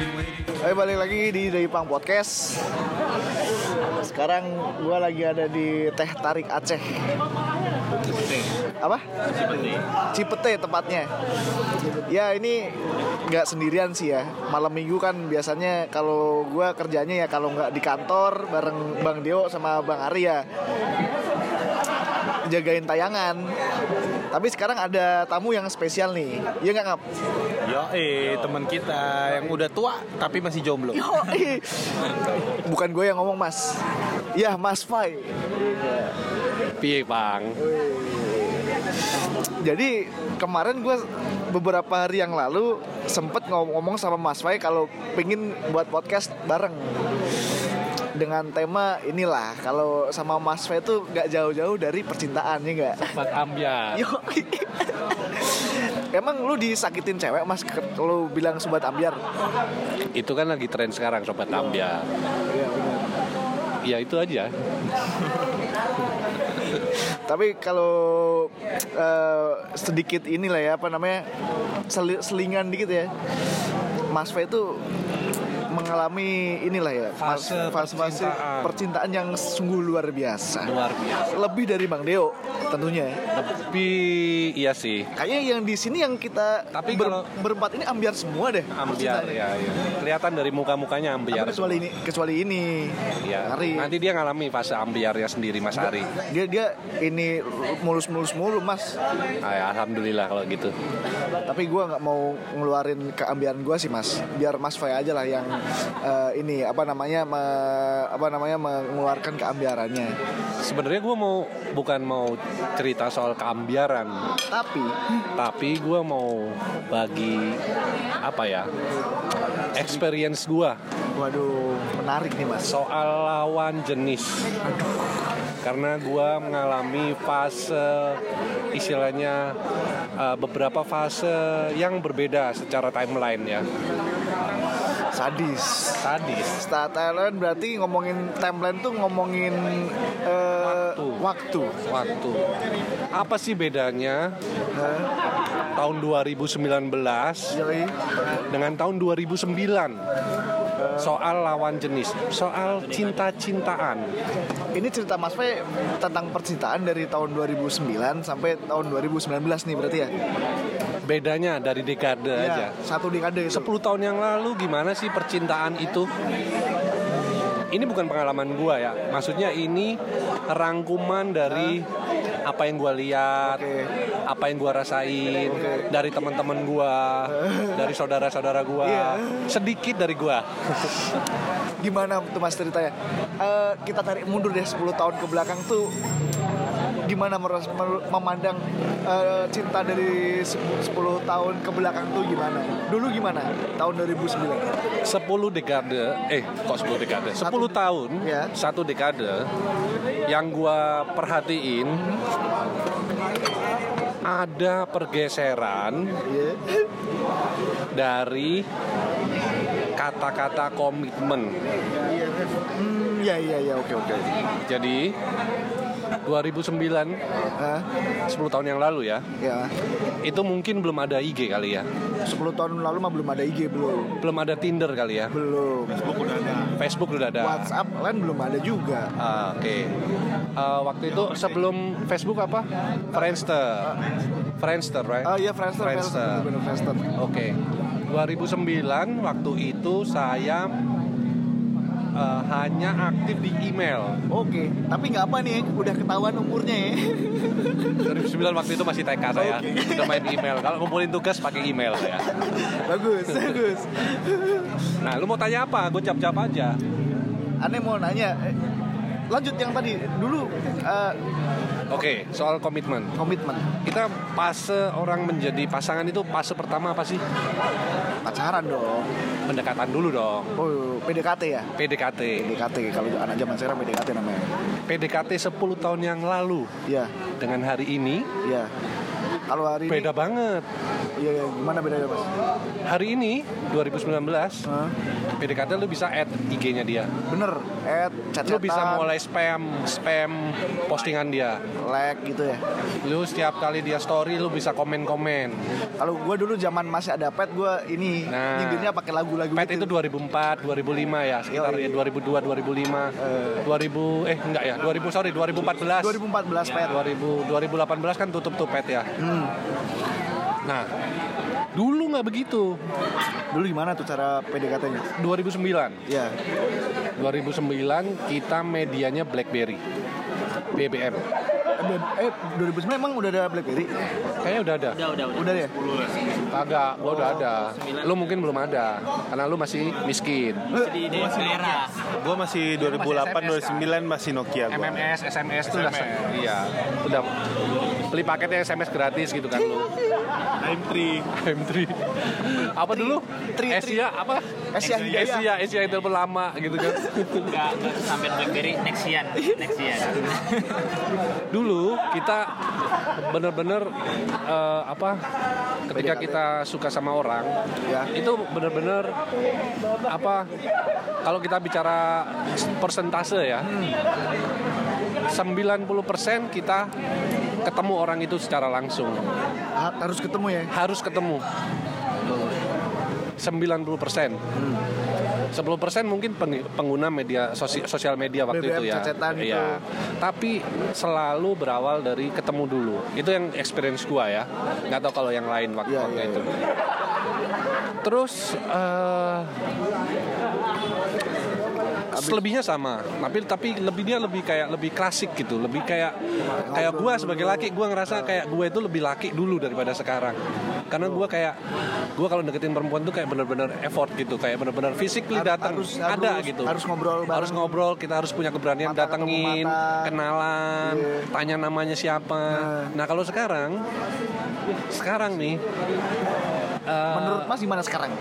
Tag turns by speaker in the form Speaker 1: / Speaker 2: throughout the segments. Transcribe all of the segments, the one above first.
Speaker 1: Oke, balik lagi di Dari Pang Podcast. Nah, Sekarang gua lagi ada di Teh Tarik Aceh. Apa? Cipete tepatnya. Ya ini nggak sendirian sih ya. Malam minggu kan biasanya kalau gua kerjanya ya kalau nggak di kantor bareng Bang Dio sama Bang Arya jagain tayangan. Tapi sekarang ada tamu yang spesial nih. Iya nggak ngap?
Speaker 2: Yo, eh teman kita yang udah tua tapi masih jomblo.
Speaker 1: Yoi. Bukan gue yang ngomong mas Ya mas Fai
Speaker 3: Piye, Bang?
Speaker 1: Jadi kemarin gue beberapa hari yang lalu Sempet ngomong sama mas Fai Kalau pengen buat podcast bareng dengan tema inilah kalau sama Mas Fai tuh nggak jauh-jauh dari percintaan ya nggak
Speaker 3: Sobat ambiar.
Speaker 1: Yo. Emang lu disakitin cewek mas ke- Kalau bilang sobat ambiar
Speaker 3: Itu kan lagi tren sekarang sobat ambiar. Ya itu aja.
Speaker 1: Tapi kalau eh, sedikit inilah ya apa namanya seli- selingan dikit ya. Mas V itu mengalami inilah ya mas-
Speaker 2: Fase percintaan.
Speaker 1: percintaan yang sungguh luar biasa.
Speaker 3: Luar biasa.
Speaker 1: Lebih dari Bang Deo tentunya.
Speaker 3: Tapi iya sih.
Speaker 1: Kayaknya yang di sini yang kita
Speaker 2: Tapi
Speaker 1: ber-
Speaker 2: kalau-
Speaker 1: berempat ini ambiar semua deh.
Speaker 3: Ambiar
Speaker 1: percintaannya.
Speaker 3: ya, ya. Kelihatan dari muka-mukanya
Speaker 1: Tapi
Speaker 3: ambiar.
Speaker 1: kecuali ini kecuali ini.
Speaker 2: Iya.
Speaker 3: Ya.
Speaker 1: Hari.
Speaker 3: Nanti dia ngalami fase ambiarnya sendiri Mas Ari.
Speaker 1: Dia dia ini mulus-mulus mulu Mas.
Speaker 3: Ay, Ah, ya, Alhamdulillah kalau gitu.
Speaker 1: tapi gue nggak mau ngeluarin keambian gue sih mas biar mas Fai aja lah yang eh, ini apa namanya me- apa namanya mengeluarkan keambiarannya
Speaker 3: Sebenarnya gue mau bukan mau cerita soal keambiaran,
Speaker 1: tapi
Speaker 3: tapi gue mau bagi apa ya? Experience gue
Speaker 1: waduh menarik nih mas
Speaker 3: soal lawan jenis karena gua mengalami fase istilahnya eh, beberapa fase yang berbeda secara timeline ya
Speaker 1: sadis
Speaker 3: sadis
Speaker 1: Star Thailand berarti ngomongin timeline tuh ngomongin eh, waktu.
Speaker 3: waktu apa sih bedanya eh,
Speaker 1: Hah?
Speaker 3: tahun 2019
Speaker 1: Yoi.
Speaker 3: dengan tahun 2009 soal lawan jenis soal cinta-cintaan
Speaker 1: Ini cerita Mas Fai tentang percintaan dari tahun 2009 sampai tahun 2019 nih berarti ya.
Speaker 3: bedanya dari dekade
Speaker 1: Iya.
Speaker 3: aja
Speaker 1: Satu dekade itu.
Speaker 3: 10 tahun yang lalu gimana sih percintaan itu? Ini bukan pengalaman gua ya. Maksudnya ini rangkuman dari apa yang gua lihat,
Speaker 1: Oke.
Speaker 3: apa yang gua rasain dari teman-teman gua, dari saudara-saudara gua,
Speaker 1: Iya.
Speaker 3: sedikit dari gua.
Speaker 1: gimana tuh mas ceritanya Eh, kita tarik mundur deh 10 tahun ke belakang tuh gimana meros- mer- memandang eh, cinta dari se- 10 tahun ke belakang tuh gimana dulu gimana tahun 2009
Speaker 3: 10 dekade, eh kok 10 dekade? 10
Speaker 1: Satu-
Speaker 3: tahun,
Speaker 1: Iya.
Speaker 3: satu dekade yang gua perhatiin ada pergeseran
Speaker 1: Iya.
Speaker 3: dari kata-kata komitmen.
Speaker 1: Hmm, ya ya ya oke oke
Speaker 3: Jadi 2009,
Speaker 1: Hah?
Speaker 3: 10 tahun yang lalu ya,
Speaker 1: ya
Speaker 3: itu mungkin belum ada IG kali ya,
Speaker 1: 10 tahun lalu mah belum ada IG belum
Speaker 3: belum ada Tinder kali ya,
Speaker 1: belum
Speaker 3: Facebook udah ada.
Speaker 1: WhatsApp lain belum ada juga
Speaker 3: Ah, Oke, Eh, waktu itu sebelum Facebook apa? Friendster, Friendster, right?
Speaker 1: oh iya Friendster
Speaker 3: Friendster.
Speaker 1: Friendster bener Friendster
Speaker 3: Oke, 2009 waktu itu saya eh, hanya aktif di email.
Speaker 1: Oke, tapi nggak apa nih, udah ketahuan umurnya ya.
Speaker 3: 2009 waktu itu masih TK saya
Speaker 1: Oke.
Speaker 3: udah main email kalau ngumpulin tugas pakai email saya
Speaker 1: bagus, bagus.
Speaker 3: nah lu mau tanya apa gue cap cap aja
Speaker 1: aneh mau nanya eh, lanjut yang tadi dulu eh,
Speaker 3: oke soal komitmen
Speaker 1: komitmen
Speaker 3: kita fase orang menjadi pasangan itu fase pertama apa sih
Speaker 1: pacaran dong
Speaker 3: pendekatan dulu dong
Speaker 1: oh PDKT ya
Speaker 3: PDKT
Speaker 1: PDKT kalau anak zaman sekarang PDKT namanya
Speaker 3: PDKT 10 tahun yang lalu
Speaker 1: ya
Speaker 3: dengan hari ini
Speaker 1: ya iya. kalau hari ini
Speaker 3: beda banget
Speaker 1: Iya, iya. gimana bedanya mas?
Speaker 3: Hari ini 2019
Speaker 1: Hah?
Speaker 3: PDKT lu bisa add IG-nya dia.
Speaker 1: Bener, eh chat
Speaker 3: Lu bisa mulai spam spam postingan dia.
Speaker 1: like gitu ya.
Speaker 3: Lu setiap kali dia story lu bisa komen-komen.
Speaker 1: Kalau gue dulu zaman masih ada pet, gue ini
Speaker 3: Nah.
Speaker 1: nyindirnya pakai lagu-lagu
Speaker 3: Pet
Speaker 1: gitu.
Speaker 3: itu 2004, 2005 ya, sekitar
Speaker 1: Yoi.
Speaker 3: ya 2002, 2005. 2000 eh enggak ya, 2000 sorry 2014.
Speaker 1: 2014 pet.
Speaker 3: Iya. 2000 2018 kan tutup tuh pet ya.
Speaker 1: Hmm.
Speaker 3: Nah, dulu nggak begitu.
Speaker 1: Dulu gimana tuh cara PDKT-nya?
Speaker 3: 2009.
Speaker 1: Ya,
Speaker 3: 2009 kita medianya BlackBerry. BBM.
Speaker 1: eh 2009 emang udah ada BlackBerry?
Speaker 3: Kayaknya udah ada.
Speaker 4: Udah, udah, udah.
Speaker 1: Udah ya?
Speaker 3: Kagak, gua udah ada. Lu mungkin belum ada karena lu masih miskin.
Speaker 4: Jadi di daerah.
Speaker 2: Gue masih 2008 2009 masih Nokia gue.
Speaker 3: MMS, SMS tuh udah iya, udah beli paketnya SMS gratis gitu kan lu. M3. Apa dulu?
Speaker 1: Tri, tri.
Speaker 3: Asia apa?
Speaker 1: Asia Hidayah.
Speaker 3: Asia, Asia itu lama gitu kan.
Speaker 4: Enggak, enggak sampai BlackBerry Nexian, Nexian.
Speaker 3: Dulu kita bener-bener eh, apa? Ketika
Speaker 1: PDKT.
Speaker 3: kita suka sama orang,
Speaker 1: Ya.
Speaker 3: itu bener-bener apa kalau kita bicara persentase ya
Speaker 1: Hmm.
Speaker 3: 90% kita ketemu orang itu secara langsung
Speaker 1: Ha- harus ketemu ya.
Speaker 3: harus ketemu 90% 10% mungkin peng- pengguna media sosi- sosial media waktu
Speaker 1: BBM
Speaker 3: itu ya.
Speaker 1: cecetan itu.
Speaker 3: Iya. Tapi selalu berawal dari ketemu dulu. Itu yang experience gua ya. Nggak tahu kalau yang lain waktu,
Speaker 1: Iya,
Speaker 3: waktu
Speaker 1: iya,
Speaker 3: itu. Terus eh, selebihnya sama, tapi tapi lebih dia lebih kayak lebih klasik gitu, lebih kayak kayak gue sebagai laki gue ngerasa kayak gue itu lebih laki dulu daripada sekarang, karena gue kayak gue kalau deketin perempuan tuh kayak bener-bener effort gitu, kayak bener-bener physically
Speaker 1: Harus-
Speaker 3: datang
Speaker 1: harus-
Speaker 3: ada
Speaker 1: harus-
Speaker 3: gitu,
Speaker 1: harus ngobrol bareng.
Speaker 3: harus ngobrol, kita harus punya keberanian
Speaker 1: Mata ketemu
Speaker 3: datengin,
Speaker 1: mata.
Speaker 3: kenalan,
Speaker 1: Iya.
Speaker 3: tanya namanya siapa. Nah kalau sekarang, sekarang nih
Speaker 1: Menurut Mas gimana sekarang?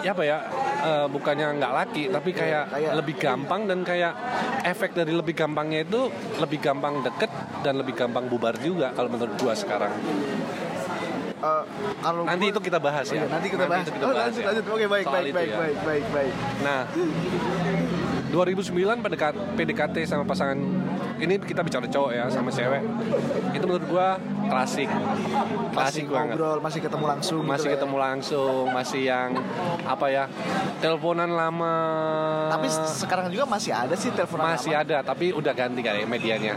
Speaker 3: ya apa ya eh, bukannya nggak laki tapi kayak,
Speaker 1: kayak-
Speaker 3: lebih gampang dan kayak efek dari lebih gampangnya itu lebih gampang deket dan lebih gampang bubar juga kalau menurut gua sekarang
Speaker 1: Eh, kalau
Speaker 3: nanti itu kita bahas
Speaker 1: Iya,
Speaker 3: ya
Speaker 1: nanti kita bahas.
Speaker 3: itu
Speaker 1: Oh, lanjut,
Speaker 3: ya.
Speaker 1: lanjut. Oke, baik,
Speaker 3: Soal
Speaker 1: baik,
Speaker 3: itu
Speaker 1: baik,
Speaker 3: ya.
Speaker 1: baik, baik, baik.
Speaker 3: nah 2009 PDKT, PDKT sama pasangan ini kita bicara cowok ya sama cewek itu menurut gua klasik
Speaker 1: Masih
Speaker 3: klasik banget
Speaker 1: ngobrol, masih ketemu langsung.
Speaker 3: masih
Speaker 1: gitu ya.
Speaker 3: ketemu langsung masih yang apa ya teleponan lama
Speaker 1: Tapi se- sekarang juga masih ada sih telepon
Speaker 3: masih ada tapi udah ganti kali ya medianya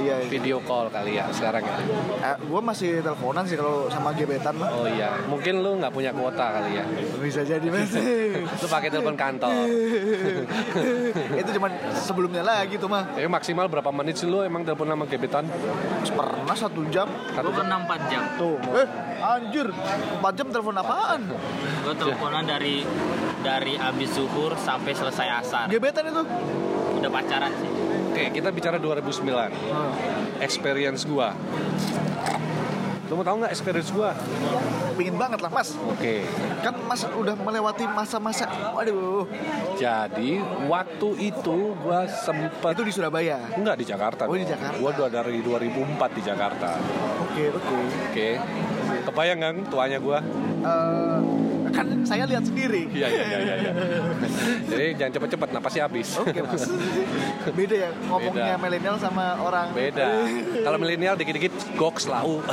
Speaker 1: Iya, iya.
Speaker 3: video call kali ya sekarang ya
Speaker 1: Eh, gue masih teleponan sih kalau sama gebetan mah.
Speaker 3: oh iya mungkin lu nggak punya kuota kali ya
Speaker 1: Bisa jadi mas.
Speaker 3: lu pakai telepon kantor
Speaker 1: itu cuman sebelumnya lagi tuh mah.
Speaker 3: Tapi maksimal berapa menit sih lu emang telepon sama gebetan
Speaker 1: Pernah satu jam.
Speaker 4: Gue pernah 4 jam.
Speaker 1: Tuh. Eh, anjir. 4 jam telepon apaan?
Speaker 4: Gue teleponan dari dari abis zuhur sampai selesai asar.
Speaker 1: Gebetan itu.
Speaker 4: Udah pacaran sih.
Speaker 3: oke kita bicara 2009
Speaker 1: Hmm.
Speaker 3: experience gua lu mau tahu nggak experience gua
Speaker 1: Pingin banget lah mas.
Speaker 3: oke
Speaker 1: Kan mas udah melewati masa-masa. Waduh.
Speaker 3: jadi waktu itu gua sempet
Speaker 1: Itu di Surabaya.
Speaker 3: Enggak di Jakarta.
Speaker 1: Oh, di
Speaker 3: dong.
Speaker 1: Jakarta.
Speaker 3: Gua udah dari 2004 di Jakarta.
Speaker 1: Oke, oke.
Speaker 3: Oke. Kebayang kan tuanya gua?
Speaker 1: Eh, kan saya lihat sendiri.
Speaker 3: Iya iya iya iya. iya. Jadi jangan cepet-cepet, napasnya habis.
Speaker 1: Oke mas. Beda ya ngomongnya
Speaker 3: Beda.
Speaker 1: milenial sama orang.
Speaker 3: Beda. Kalau milenial dikit-dikit goks lau.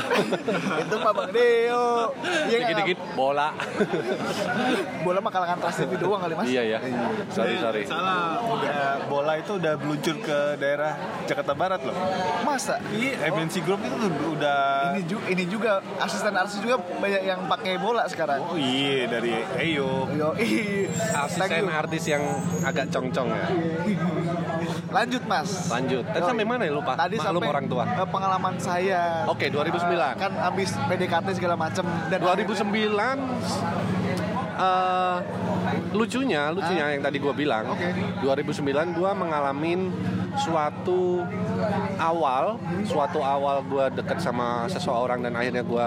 Speaker 1: itu Pak Bang Deo. Iya nggak?
Speaker 3: dikit-dikit bola.
Speaker 1: Bola mah kalangan Trans TV doang kali mas.
Speaker 3: iya ya. Sorry sorry.
Speaker 2: Salah, udah bola itu udah meluncur ke daerah Jakarta Barat loh.
Speaker 1: Masa?
Speaker 2: Iya, MNC Group itu tuh udah
Speaker 1: Ini juga, ini juga asisten artis juga banyak yang pakai bola sekarang.
Speaker 2: Oh iya dari Eyo.
Speaker 1: Yo, ih. Thank
Speaker 3: Asisten
Speaker 1: you.
Speaker 3: artis yang agak congcong ya.
Speaker 1: Lanjut mas.
Speaker 3: Lanjut. Tadi
Speaker 1: Yo,
Speaker 3: sampai mana ya lupa?
Speaker 1: Tadi
Speaker 3: Maklum
Speaker 1: sampai
Speaker 3: orang tua.
Speaker 1: eh, pengalaman saya. Eh,
Speaker 3: Oke, 2009.
Speaker 1: kan abis PDKT segala macem dan
Speaker 3: 2009 eh, lucunya lucunya yang tadi gue bilang
Speaker 1: Oke.
Speaker 3: 2009 gue mengalami suatu awal suatu awal gue deket sama seseorang dan akhirnya gue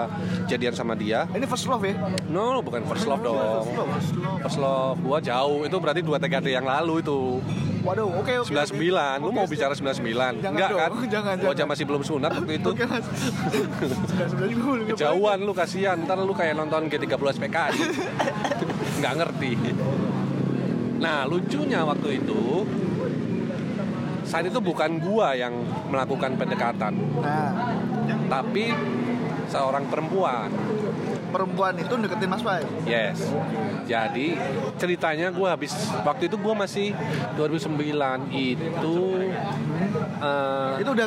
Speaker 3: jadian sama dia
Speaker 1: akhirnya- ini first love ya
Speaker 3: no bukan first love dong
Speaker 1: First love.
Speaker 3: first love gue jauh itu berarti dua TKT yang lalu itu
Speaker 1: Waduh, oke oke.
Speaker 3: 99, lu mau bicara 99?
Speaker 1: Jangan
Speaker 3: Enggak
Speaker 1: dong,
Speaker 3: kan?
Speaker 1: jangan,
Speaker 3: Wajah
Speaker 1: jangan.
Speaker 3: masih belum sunat waktu itu. kan.
Speaker 1: 99 juga belum
Speaker 3: Kejauhan lu kasihan, ntar lu kayak nonton G30 SPKI. Nggak ngerti. Nah, lucunya waktu itu saat itu bukan gua yang melakukan pendekatan,
Speaker 1: Nah,
Speaker 3: tapi seorang perempuan.
Speaker 1: perempuan itu deketin Mas Pai.
Speaker 3: Yes. Jadi ceritanya gue habis waktu itu gue masih 2009 itu eh,
Speaker 1: Itu udah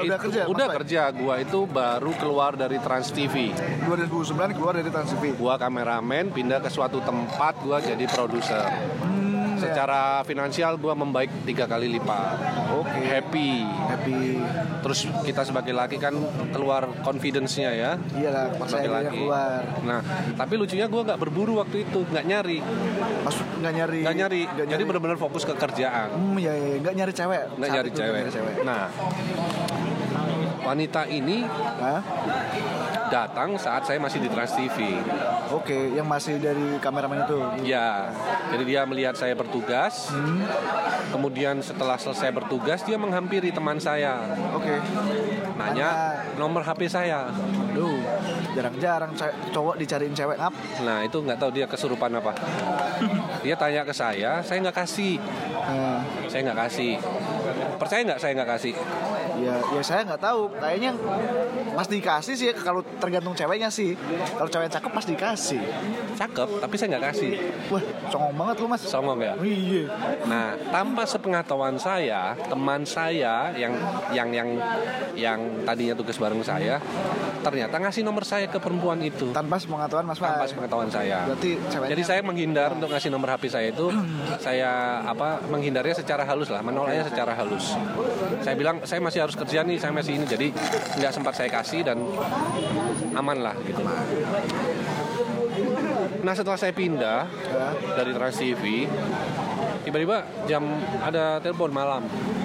Speaker 1: kerja, udah
Speaker 3: itu-
Speaker 1: kerja, Mas
Speaker 3: udah
Speaker 1: Pai?
Speaker 3: kerja gue itu baru keluar dari Trans TV
Speaker 1: 2009 keluar dari Trans TV.
Speaker 3: gue kameramen pindah ke suatu tempat gue jadi produser
Speaker 1: Hmm, ya.
Speaker 3: secara finansial gue membaik tiga kali lipat
Speaker 1: oke.
Speaker 3: happy
Speaker 1: Happy.
Speaker 3: terus kita sebagai laki kan keluar confidence-nya ya
Speaker 1: Iyalah, pas
Speaker 3: sebagai
Speaker 1: saya
Speaker 3: laki
Speaker 1: keluar.
Speaker 3: nah tapi lucunya gue nggak berburu waktu itu nggak nyari
Speaker 1: Maksud nggak nyari.
Speaker 3: Gak nyari,
Speaker 1: nggak
Speaker 3: jadi benar-benar fokus ke kerjaan,
Speaker 1: Hmm, ya, ya, nggak nyari cewek.
Speaker 3: nggak
Speaker 1: Saat
Speaker 3: nyari
Speaker 1: itu nggak
Speaker 3: cewek. Nah, wanita ini
Speaker 1: Hah?
Speaker 3: datang saat saya masih di Trans TV.
Speaker 1: Oke, yang masih dari kameramen itu.
Speaker 3: Ya, jadi dia melihat saya bertugas. Kemudian setelah selesai bertugas, dia menghampiri teman saya,
Speaker 1: Oke.
Speaker 3: nanya nomor HP saya.
Speaker 1: Aduh, jarang-jarang ce- cowok dicariin cewek ngap.
Speaker 3: Nah, itu nggak tahu dia kesurupan apa. Dia tanya ke saya, saya nggak kasih,
Speaker 1: Nah,
Speaker 3: saya nggak kasih. Percaya nggak saya nggak kasih?
Speaker 1: ya, ya saya nggak tahu. Kayaknya pasti dikasih sih kalau tergantung ceweknya sih. Kalau cewek cakep pasti dikasih.
Speaker 3: Cakep, tapi saya nggak kasih.
Speaker 1: Wah, songong banget lu mas.
Speaker 3: Songong ya?
Speaker 1: Iya.
Speaker 3: Nah, tanpa sepengetahuan saya, teman saya yang yang yang yang tadinya tugas bareng saya ternyata ngasih nomor saya ke perempuan itu
Speaker 1: Tanpa sepengetahuan mas
Speaker 3: tanpa
Speaker 1: Mas.
Speaker 3: sepengetahuan saya.
Speaker 1: Berarti ceweknya.
Speaker 3: Jadi saya menghindar untuk ngasih nomor HP saya itu saya apa menghindarnya secara halus lah, menolaknya secara halus. Saya bilang saya masih harus kerja nih, saya masih ini jadi nggak sempat saya kasih dan aman lah gitu. Nah setelah saya pindah
Speaker 1: Ya,
Speaker 3: dari Trans TV tiba-tiba jam ada telepon malam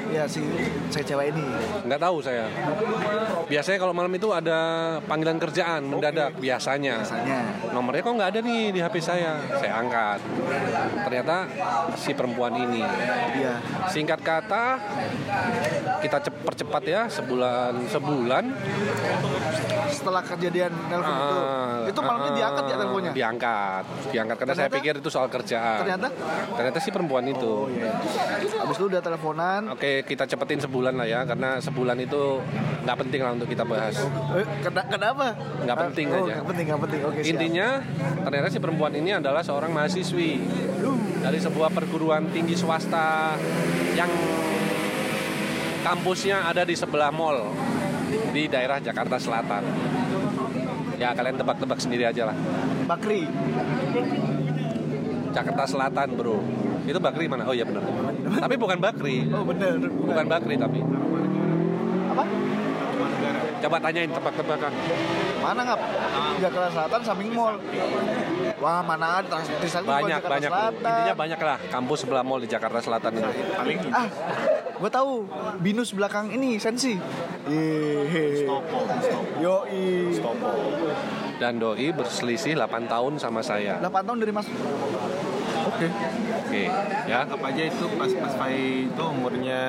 Speaker 1: ya si saya cewek ini.
Speaker 3: nggak tahu saya biasanya kalau malam itu ada panggilan kerjaan mendadak biasanya
Speaker 1: Biasanya.
Speaker 3: nomornya kok nggak ada nih di HP saya saya angkat ternyata si perempuan ini
Speaker 1: Iya.
Speaker 3: singkat kata kita cep- percepat ya sebulan sebulan
Speaker 1: Setelah kejadian telepon itu,
Speaker 3: ah,
Speaker 1: itu malamnya
Speaker 3: ah,
Speaker 1: diangkat ya teleponnya.
Speaker 3: diangkat diangkat karena saya
Speaker 1: Ternyata-
Speaker 3: pikir itu soal kerjaan
Speaker 1: Ternyata?
Speaker 3: ternyata si perempuan itu
Speaker 1: Oh iya. Abis itu udah teleponan.
Speaker 3: Oke, kita cepetin sebulan lah ya, karena sebulan itu nggak penting lah untuk kita bahas.
Speaker 1: Eh, kena- kenapa?
Speaker 3: Nggak
Speaker 1: Ah,
Speaker 3: penting
Speaker 1: oh,
Speaker 3: aja.
Speaker 1: Nggak penting, nggak penting. Oke. siap.
Speaker 3: Intinya, ternyata si perempuan ini adalah seorang mahasiswi dari sebuah perguruan tinggi swasta yang kampusnya ada di sebelah mall di daerah Jakarta Selatan. Ya, kalian tebak-tebak sendiri aja lah.
Speaker 1: Bakri.
Speaker 3: Jakarta Selatan, bro. Itu Bakri mana? Oh iya benar. tapi bukan Bakri,
Speaker 1: Oh bener.
Speaker 3: bukan Bakri tapi.
Speaker 1: Apa?
Speaker 3: Coba tanyain tebak-tebakan.
Speaker 1: Mana ngap? Jakarta Selatan samping mall. Wah mana ada trans Trisakti bukan
Speaker 3: banyak
Speaker 1: Jakarta
Speaker 3: banyak
Speaker 1: Selatan.
Speaker 3: intinya banyak lah kampus sebelah mall di Jakarta Selatan ini
Speaker 4: paling
Speaker 1: Ah, gue tahu. Binus belakang ini sensi. Yehe.
Speaker 3: Iya.
Speaker 4: Stopo, Stopo,
Speaker 1: Yoi.
Speaker 4: Stopo.
Speaker 3: dan doi berselisih 8 tahun sama saya
Speaker 1: 8 tahun dari Mas. Oke.
Speaker 3: oke ya
Speaker 2: Apa aja itu pas pas Fai itu umurnya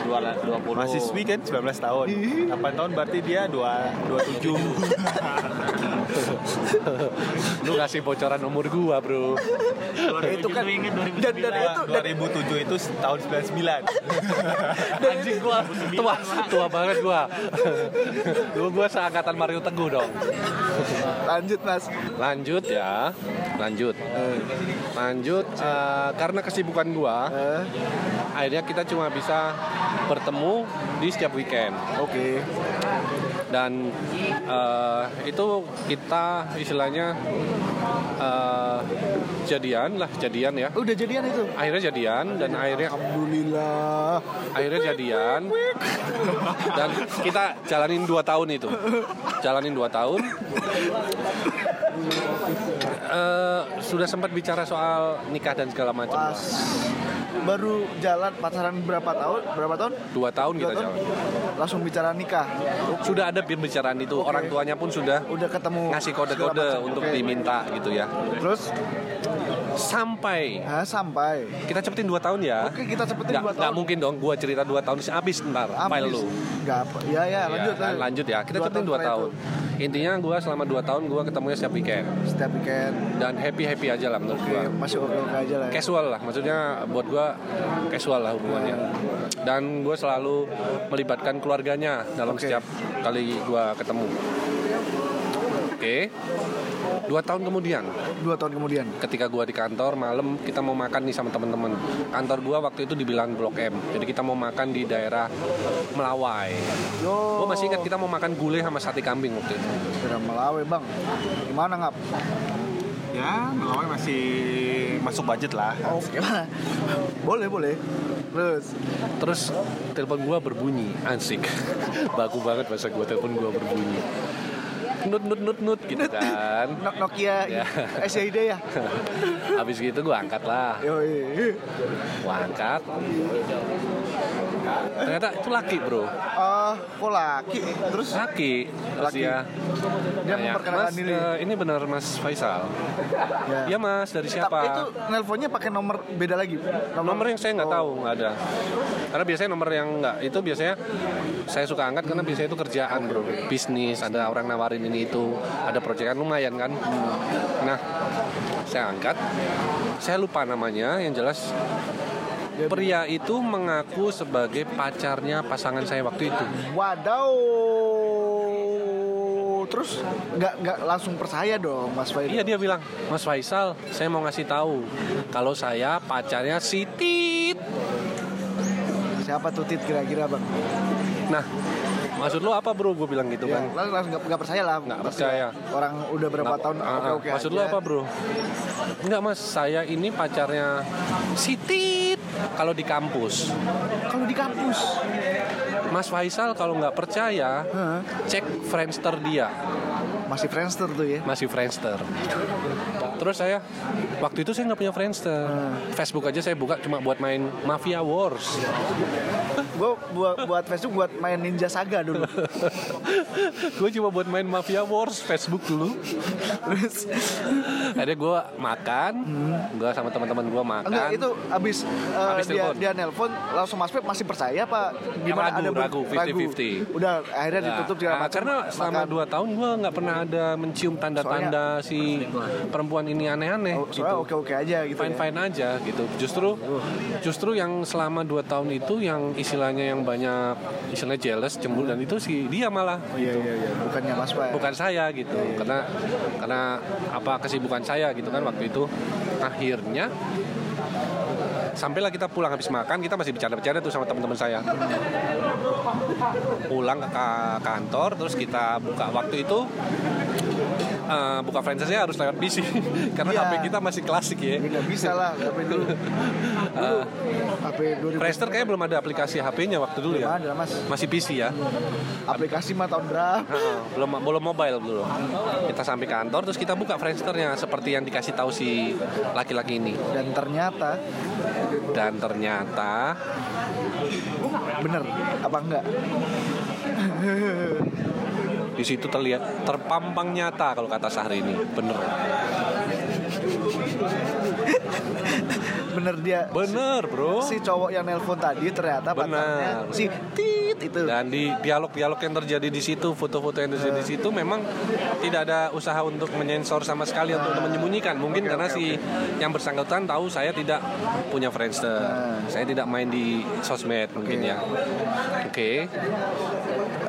Speaker 4: Dua, dua puluh.
Speaker 2: mahasiswi kan 19 tahun. 8 tahun berarti dia 2 27.
Speaker 3: lu kasih bocoran umur gua bro
Speaker 1: Itu kan
Speaker 4: inget
Speaker 1: dan dan itu dan
Speaker 2: 2007 itu tahun 99.
Speaker 3: anjing gua tua tua banget gua lu gua seangkatan Mario Teguh dong
Speaker 1: lanjut Mas.
Speaker 3: lanjut ya lanjut lanjut eh, karena kesibukan gua
Speaker 1: Eh,
Speaker 3: akhirnya kita cuma bisa bertemu di setiap weekend
Speaker 1: Oke.
Speaker 3: dan eh, itu kita istilahnya eh, jadian lah jadian ya
Speaker 1: Udah jadian itu.
Speaker 3: akhirnya jadian dan akhirnya
Speaker 1: Alhamdulillah.
Speaker 3: akhirnya jadian dan kita jalanin dua tahun itu jalanin dua tahun Eh, sudah sempat bicara soal nikah dan segala macam
Speaker 1: Pas baru jalan pacaran berapa tahun? Berapa tahun?
Speaker 3: dua tahun
Speaker 1: Dua
Speaker 3: kita
Speaker 1: tahun.
Speaker 3: jalan
Speaker 1: Langsung bicara nikah.
Speaker 3: sudah ada pembicaraan itu orang tuanya pun sudah
Speaker 1: Udah ketemu.
Speaker 3: ngasih
Speaker 1: segala
Speaker 3: kode-kode
Speaker 1: macam.
Speaker 3: untuk
Speaker 1: Oke.
Speaker 3: diminta gitu ya
Speaker 1: Terus
Speaker 3: sampai
Speaker 1: Hah, sampai.
Speaker 3: kita cepetin 2 tahun ya.
Speaker 1: Oke, kita cepetin dua
Speaker 3: Nggak- nggak
Speaker 1: tahun.
Speaker 3: mungkin dong gua cerita 2 tahun sih habis ntar file lu.
Speaker 1: Gak apa. Ya ya, lanjut.
Speaker 3: ya, lanjut ya. Kita
Speaker 1: Dua
Speaker 3: cepetin 2
Speaker 1: terakhir
Speaker 3: tahun. Intinya gua selama 2 tahun gua ketemunya setiap weekend
Speaker 1: tuh. Setiap weekend.
Speaker 3: dan happy-happy aja lah menurut
Speaker 1: Oke,
Speaker 3: gua.
Speaker 1: masih oke oke aja lah. Ya.
Speaker 3: Casual lah, maksudnya buat gua casual lah hubungannya.
Speaker 1: Iya.
Speaker 3: Dan gue selalu melibatkan keluarganya dalam
Speaker 1: Oke.
Speaker 3: setiap kali gua ketemu. Oke, dua tahun kemudian,
Speaker 1: Dua tahun kemudian.
Speaker 3: ketika gua di kantor malam kita mau makan nih sama temen-temen kantor gua waktu itu di bilan blok M jadi kita mau makan di daerah Melawai
Speaker 1: Yo.
Speaker 3: gua masih ingat kita mau makan gulai sama sate kambing waktu itu
Speaker 1: Kira melawe bang. Gimana ngap?
Speaker 2: Ya, melawan masih masuk budget lah.
Speaker 3: Nah,
Speaker 1: Oke. boleh boleh. Terus.
Speaker 3: terus telepon gua berbunyi ansik baku banget bahasa gua telepon gua berbunyi nut nut nut nut gitu kan
Speaker 1: Nok Nokia
Speaker 3: Ya.
Speaker 1: SID ya.
Speaker 3: habis gitu gua angkat lah
Speaker 1: Yoi.
Speaker 3: gua angkat ternyata itu laki bro
Speaker 1: Ah, kok laki? Terus
Speaker 3: laki terus
Speaker 1: Laki.
Speaker 3: dia
Speaker 1: dia
Speaker 3: nanya,
Speaker 1: memperkenalkan
Speaker 3: "Mas,
Speaker 1: diri.
Speaker 3: Iya,
Speaker 1: Ya.
Speaker 3: eh, ini benar mas Faisal Iya mas, dari siapa?
Speaker 1: Tapi itu nelponnya pakai nomor beda lagi.
Speaker 3: Nomor yang saya nggak tahu, nggak ada. Karena biasanya nomor yang nggak itu biasanya saya suka angkat karena biasanya itu kerjaan bro, bisnis, ada orang nawarin ini itu, ada proyekan lumayan kan. Nah, saya angkat, saya lupa namanya, yang jelas pria itu mengaku sebagai pacarnya pasangan saya waktu itu.
Speaker 1: Wadaw. Terus nggak nggak langsung percaya dong Mas Faisal.
Speaker 3: Iya dia bilang, Mas Faisal, saya mau ngasih tahu kalau saya pacarnya si Tit.
Speaker 1: Siapa tuh Tit kira-kira bang?
Speaker 3: Nah, maksud lo apa bro? Gue bilang gitu
Speaker 1: Ya,
Speaker 3: kan.
Speaker 1: langsung langsung nggak nggak percaya lah.
Speaker 3: Nggak
Speaker 1: Pasti
Speaker 3: percaya.
Speaker 1: Orang udah berapa tahun?
Speaker 3: Ah, ah.
Speaker 1: Oke oke.
Speaker 3: Maksud lo apa bro? Enggak mas, saya ini pacarnya Sitit kalau di kampus.
Speaker 1: Kalau di kampus.
Speaker 3: Mas Faisal kalau nggak percaya,
Speaker 1: Hah?
Speaker 3: cek Friendster dia.
Speaker 1: Masih Friendster tuh ya.
Speaker 3: Masih Friendster. Terus saya, waktu itu saya nggak punya Friendster.
Speaker 1: Hmm.
Speaker 3: Facebook aja saya buka cuma buat main Mafia Wars.
Speaker 1: Gue buat buat Facebook buat main Ninja Saga dulu.
Speaker 3: gue cuma buat main Mafia Wars Facebook dulu.
Speaker 1: Terus
Speaker 3: Akhirnya gue makan, gue sama teman-teman gue makan.
Speaker 1: Hmm. enggak itu abis, eh,
Speaker 3: Abis
Speaker 1: dia
Speaker 3: telepon.
Speaker 1: dia nelpon langsung Mas Pep masih percaya apa gimana
Speaker 3: Ragu,
Speaker 1: ada ber-
Speaker 3: ragu, 50-50.
Speaker 1: Udah akhirnya
Speaker 3: Nah,
Speaker 1: ditutup segala
Speaker 3: nah,
Speaker 1: macam.
Speaker 3: karena selama
Speaker 1: Makan.
Speaker 3: 2 tahun gue nggak pernah ada mencium tanda-tanda si perempuan ini aneh-aneh
Speaker 1: Oh,
Speaker 3: gitu
Speaker 1: soalnya oke oke aja gitu.
Speaker 3: fine
Speaker 1: ya.
Speaker 3: fine aja gitu justru justru yang selama 2 tahun itu yang istilahnya yang banyak istilahnya jealous cemburu dan itu si dia malah
Speaker 1: Oh, iya iya iya. Bukannya Mas Pep.
Speaker 3: bukan saya gitu
Speaker 1: Iya,
Speaker 3: karena karena apa kesibukan saya gitu kan waktu itu akhirnya sampailah kita pulang habis makan kita masih bercanda-bercanda tuh sama teman-teman saya pulang ke ka- kantor terus kita buka waktu itu eh, buka franchise-nya harus lewat PC karena
Speaker 1: Iya.
Speaker 3: HP kita masih klasik ya
Speaker 1: Nggak bisa lah HP dulu. Dulu HP 2000
Speaker 3: Friendster kayaknya belum ada aplikasi HP-nya waktu dulu
Speaker 1: belum
Speaker 3: ya
Speaker 1: ada Mas.
Speaker 3: masih PC ya
Speaker 1: Aplikasi mah tahun berapa?
Speaker 3: Heeh, belum belum mobile dulu kita sampai kantor terus kita buka Friendsternya seperti yang dikasih tahu si laki-laki ini
Speaker 1: Dan ternyata
Speaker 3: dan ternyata
Speaker 1: bener apa enggak?
Speaker 3: di situ terlihat terpampang nyata kalau kata Sahri ini bener
Speaker 1: Bener dia
Speaker 3: bener bro
Speaker 1: si cowok yang nelpon tadi ternyata
Speaker 3: Benar.
Speaker 1: pacarnya si Tit itu.
Speaker 3: dan di dialog-dialog yang terjadi di situ foto-foto yang terjadi di situ memang tidak ada usaha untuk menyensor sama sekali untuk menyembunyikan mungkin karena si yang bersangkutan tahu saya tidak punya friendster saya tidak main di sosmed mungkin
Speaker 1: Oke.
Speaker 3: ya oke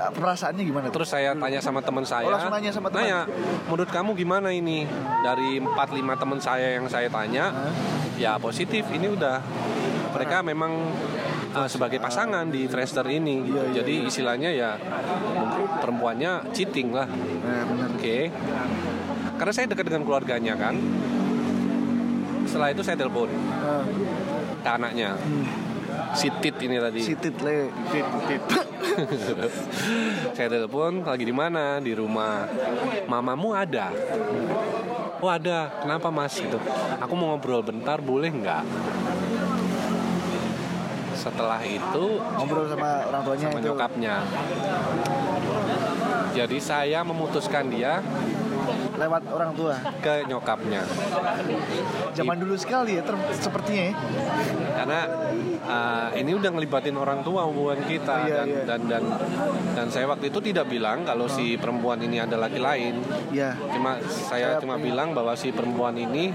Speaker 1: Perasaannya gimana tuh?
Speaker 3: Terus saya tanya sama teman saya.
Speaker 1: Oh, langsung nanya sama teman.
Speaker 3: Nanya, menurut kamu gimana ini? Dari 4 5 teman saya yang saya tanya, ya positif. Ini udah mereka memang uh, sebagai pasangan di Friendster ini. gitu.
Speaker 1: Iya,
Speaker 3: Jadi istilahnya ya perempuannya cheating lah.
Speaker 1: Eh, bener.
Speaker 3: Oke. Karena saya dekat dengan keluarganya kan. Setelah itu saya telepon Nah,
Speaker 1: Eh,
Speaker 3: ke anaknya.
Speaker 1: Hmm.
Speaker 3: Si Tit ini tadi.
Speaker 1: si Tit le.
Speaker 2: Tit, tit.
Speaker 3: saya telepon lagi di mana di rumah mamamu ada oh ada kenapa mas gitu aku mau ngobrol bentar boleh nggak setelah itu
Speaker 1: Ngobrol sama orang tuanya itu.
Speaker 3: menyokapnya jadi saya memutuskan dia
Speaker 1: lewat orang tua.
Speaker 3: ke nyokapnya
Speaker 1: Zaman dulu sekali ya ter- sepertinya ya.
Speaker 3: karena uh, ini udah ngelibatin orang tua hubungan
Speaker 1: Iya,
Speaker 3: kita dan,
Speaker 1: iya.
Speaker 3: dan dan dan saya waktu itu tidak bilang kalau si perempuan ini ada laki lain
Speaker 1: Iya.
Speaker 3: cuma
Speaker 1: Saya
Speaker 3: saya cuma
Speaker 1: punya-
Speaker 3: bilang bahwa si perempuan ini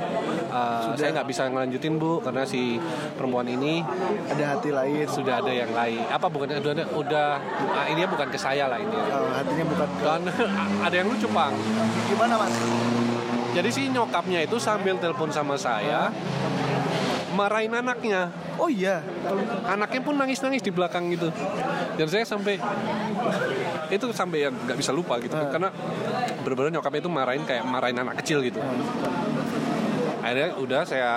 Speaker 3: uh, saya nggak bisa ngelanjutin bu karena si perempuan ini
Speaker 1: Ada hati lain.
Speaker 3: sudah ada yang lain apa bukan udah ada- udah ah, ini ya bukan ke saya lah ini ya.
Speaker 1: Eh, hatinya bukan ke-
Speaker 3: dan ada yang lucu pang
Speaker 1: gimana mas?
Speaker 3: jadi si nyokapnya itu sambil telepon sama saya marahin anaknya
Speaker 1: Oh iya,
Speaker 3: anaknya pun nangis-nangis di belakang gitu dan saya sampai itu sampai yang nggak bisa lupa gitu
Speaker 1: Eh.
Speaker 3: karena bener-bener nyokapnya itu marahin kayak marahin anak kecil gitu akhirnya udah saya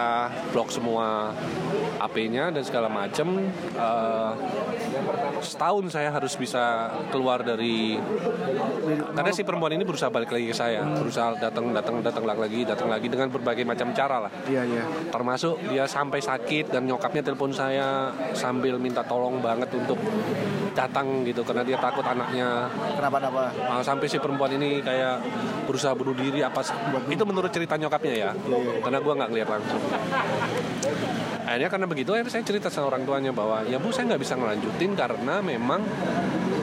Speaker 3: blok semua HP-nya dan segala macem Eh, setahun saya harus bisa keluar dari karena si perempuan ini berusaha balik lagi ke saya berusaha datang datang datang lagi datang lagi dengan berbagai macam cara lah
Speaker 1: iya iya.
Speaker 3: termasuk dia sampai sakit dan nyokapnya telepon saya sambil minta tolong banget untuk datang gitu karena dia takut anaknya
Speaker 1: Kenapa-napa?
Speaker 3: Ah, sampai si perempuan ini kayak berusaha bunuh diri apa se- itu menurut cerita nyokapnya ya karena gua nggak ngeliat langsung akhirnya karena begitu akhirnya saya cerita sama orang tuanya bahwa ya bu saya nggak bisa ngelanjutin karena memang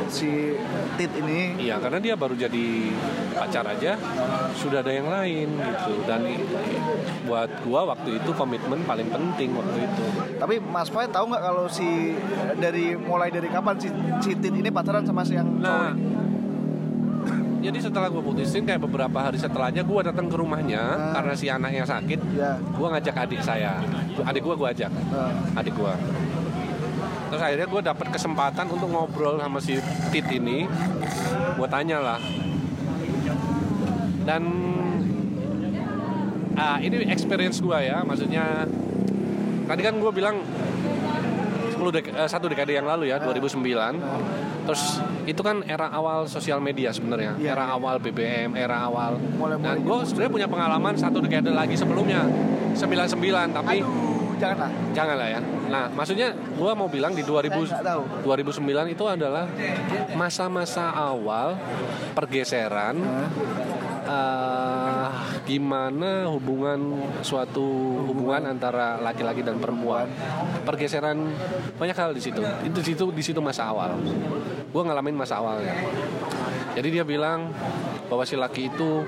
Speaker 1: Si Tit ini
Speaker 3: Iya, karena dia baru jadi pacar aja sudah ada yang lain gitu. Dan i- buat gua waktu itu komitmen paling penting waktu itu.
Speaker 1: Tapi Mas Poy tahu nggak kalau si dari mulai dari kapan si, si Tit ini pacaran sama si yang
Speaker 3: Nah, jadi setelah gua putusin kayak beberapa hari setelahnya gua datang ke rumahnya karena si anaknya sakit.
Speaker 1: ya
Speaker 3: Gua ngajak adik saya, adik gua gua ajak,
Speaker 1: eh,
Speaker 3: adik gua. Terus akhirnya gua dapet kesempatan untuk ngobrol sama si Tit ini. Gua tanya lah. Dan ah, ini experience gua ya, maksudnya tadi kan gua bilang 10 dek- eh, satu dekade yang lalu ya 2009 terus itu kan era awal sosial media sebenarnya
Speaker 1: Iya.
Speaker 3: era awal BBM era awal
Speaker 1: Mulai-mulai. gitu.
Speaker 3: dan gue sebenarnya punya pengalaman satu dekade lagi sebelumnya 99 tapi
Speaker 1: aduh janganlah.
Speaker 3: janganlah ya nah maksudnya gua mau bilang di 2000
Speaker 1: Saya nggak tahu.
Speaker 3: 2009 itu adalah masa-masa awal pergeseran
Speaker 1: Hah?
Speaker 3: eh, gimana hubungan suatu hubungan antara laki-laki dan perempuan pergeseran banyak hal di situ itu di situ di situ masa awal gue ngalamin masa awalnya jadi dia bilang bahwa si laki itu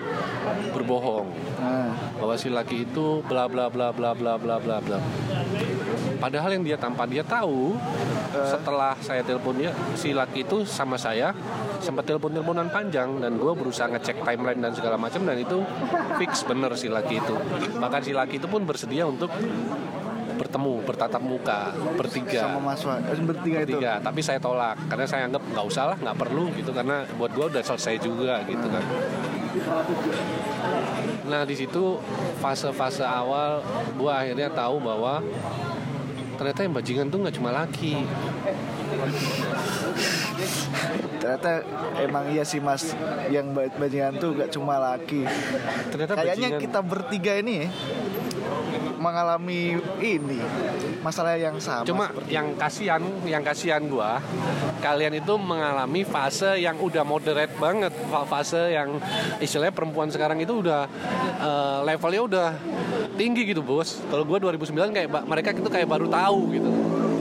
Speaker 3: berbohong
Speaker 1: Nah,
Speaker 3: bahwa si laki itu bla bla bla bla bla bla bla bla. Padahal yang dia tanpa dia tahu setelah saya telepon dia si laki itu sama saya sempat telepon teleponan panjang dan gue berusaha ngecek timeline dan segala macam dan itu fix bener si laki itu bahkan si laki itu pun bersedia untuk bertemu bertatap muka bertiga
Speaker 1: sama Mas Poy Eh, bertiga itu.
Speaker 3: tiga Iya, tapi saya tolak karena saya anggap nggak usah lah nggak perlu gitu karena buat gue udah selesai juga gitu kan nah di situ fase-fase awal gue akhirnya tahu bahwa ternyata yang bajingan tuh nggak cuma laki
Speaker 1: Ternyata emang iya sih Mas yang ba- bajingan tuh gak cuma laki.
Speaker 3: ternyata
Speaker 1: Kayaknya
Speaker 3: bajingan
Speaker 1: kita bertiga ini ya, mengalami ini masalah yang sama.
Speaker 3: cuma yang kasihan yang kasihan gue kalian itu mengalami fase yang udah moderate banget fa- fase yang istilahnya perempuan sekarang itu udah eh, levelnya udah tinggi gitu bos kalau gue 2009 kayak ba- mereka itu kayak baru tahu gitu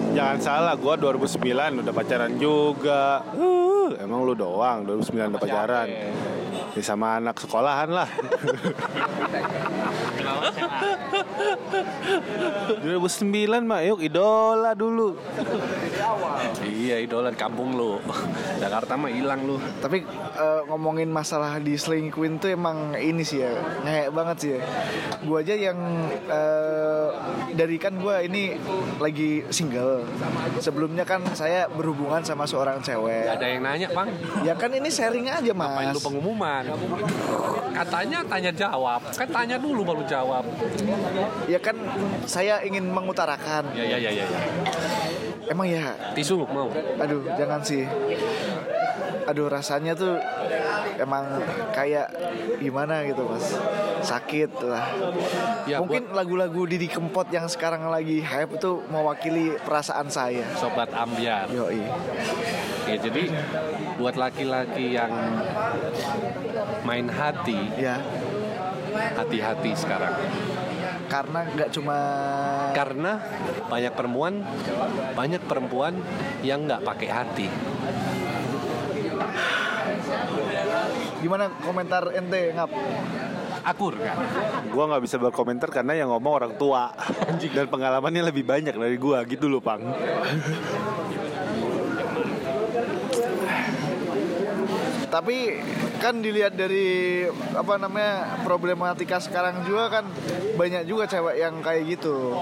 Speaker 2: Jangan salah, gua 2009 udah pacaran juga. Uh, emang lu doang 2009 udah pacaran. Ya sama anak sekolahan lah. 2009 mah yuk idola dulu.
Speaker 3: Iya idolan kampung lu Jakarta mah hilang lu
Speaker 1: Tapi eh, ngomongin masalah diselingkuhin tuh emang ini sih ya ngehek banget sih ya. Gue aja yang eh, dari kan gue ini lagi single. Sebelumnya kan saya berhubungan sama seorang cewek.
Speaker 3: Ada yang nanya bang
Speaker 1: Ya kan ini sharing aja
Speaker 3: Main
Speaker 1: mas.
Speaker 3: lu pengumuman Katanya tanya jawab Kan tanya dulu baru jawab
Speaker 1: Ya kan saya ingin mengutarakan.
Speaker 3: Ya ya ya ya, ya.
Speaker 1: Emang ya,
Speaker 3: Tisu mau
Speaker 1: aduh jangan sih. Aduh rasanya tuh emang kayak gimana gitu mas. Sakit lah.
Speaker 3: ya,
Speaker 1: Mungkin
Speaker 3: buat
Speaker 1: lagu-lagu Didi Kempot yang sekarang lagi hype itu mewakili perasaan saya.
Speaker 3: Sobat ambiar
Speaker 1: Yoi.
Speaker 3: ya, Jadi buat laki-laki yang main hati
Speaker 1: Ya.
Speaker 3: hati-hati sekarang
Speaker 1: karena nggak cuma
Speaker 3: karena banyak perempuan banyak perempuan yang nggak pakai hati
Speaker 1: gimana komentar ente ngap
Speaker 3: akur kan
Speaker 2: Gua nggak bisa berkomentar karena yang ngomong orang tua dan pengalamannya lebih banyak dari gua gitu loh, Pang.
Speaker 1: tapi kan dilihat dari apa namanya problematika sekarang juga kan banyak juga cewek yang kayak gitu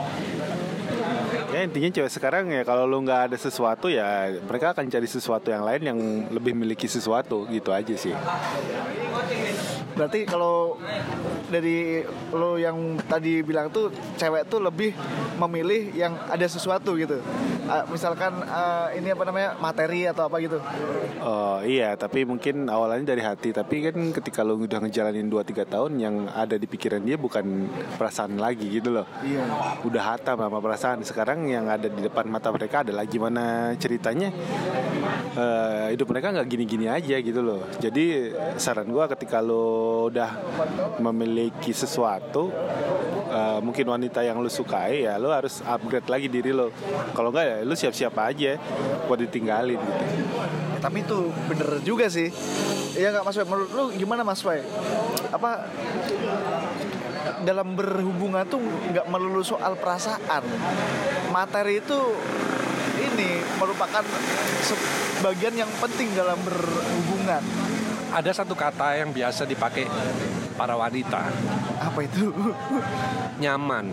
Speaker 2: Ya intinya cewek sekarang ya kalau lu nggak ada sesuatu ya mereka akan cari sesuatu yang lain yang lebih miliki sesuatu gitu aja sih.
Speaker 1: berarti kalau dari lo yang tadi bilang tuh cewek tuh lebih memilih yang ada sesuatu gitu Ah, misalkan ah, ini apa namanya materi atau apa gitu
Speaker 2: Oh iya, tapi mungkin awalnya dari hati, tapi kan ketika lu udah ngejalanin 2 3 tahun yang ada di pikiran dia bukan perasaan lagi gitu loh.
Speaker 1: Iya.
Speaker 2: Udah hatam sama perasaan. Sekarang yang ada di depan mata mereka adalah gimana ceritanya eh, hidup mereka nggak gini-gini aja gitu loh. Jadi saran gua ketika lu udah memiliki sesuatu eh, mungkin wanita yang lu sukai ya lu harus upgrade lagi diri lo kalau nggak ya lu siap-siap aja buat ditinggalin gitu
Speaker 1: Ya, tapi itu bener juga sih ya nggak mas Wai menurut lu gimana mas Wai apa dalam berhubungan tuh nggak melulu soal perasaan materi itu ini merupakan sebagian yang penting dalam berhubungan
Speaker 3: ada satu kata yang biasa dipakai para wanita
Speaker 1: apa itu
Speaker 3: nyaman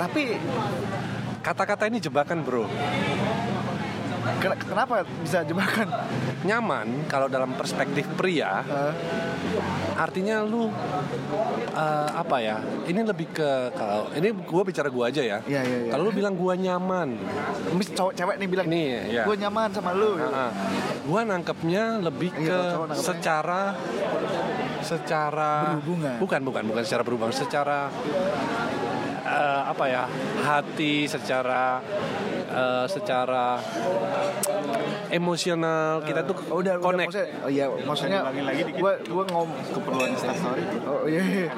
Speaker 1: tapi
Speaker 3: kata-kata ini jebakan bro
Speaker 1: ken- kenapa bisa jebakan
Speaker 3: nyaman kalau dalam perspektif pria
Speaker 1: Eh,
Speaker 3: artinya lu eh, apa ya ini lebih ke kalau ini gua bicara gua aja ya
Speaker 1: Iya, iya, iya.
Speaker 3: kalau lu bilang gua nyaman
Speaker 1: mis cowok cewek nih bilang
Speaker 3: Nih, ya.
Speaker 1: gue nyaman sama lu gitu.
Speaker 3: Heeh. Gua nangkepnya lebih
Speaker 1: Iya,
Speaker 3: ke
Speaker 1: kalau cowok nangkepnya.
Speaker 3: secara secara
Speaker 1: Berhubungan.
Speaker 3: Bukan, bukan, bukan secara berhubungan, secara eh, apa ya? hati secara eh, secara emosional kita tuh
Speaker 1: Oh, udah, udah
Speaker 3: connect
Speaker 1: maksudnya, oh iya maksudnya gue gue ngom
Speaker 2: keperluan instastory
Speaker 1: oh iya, iya.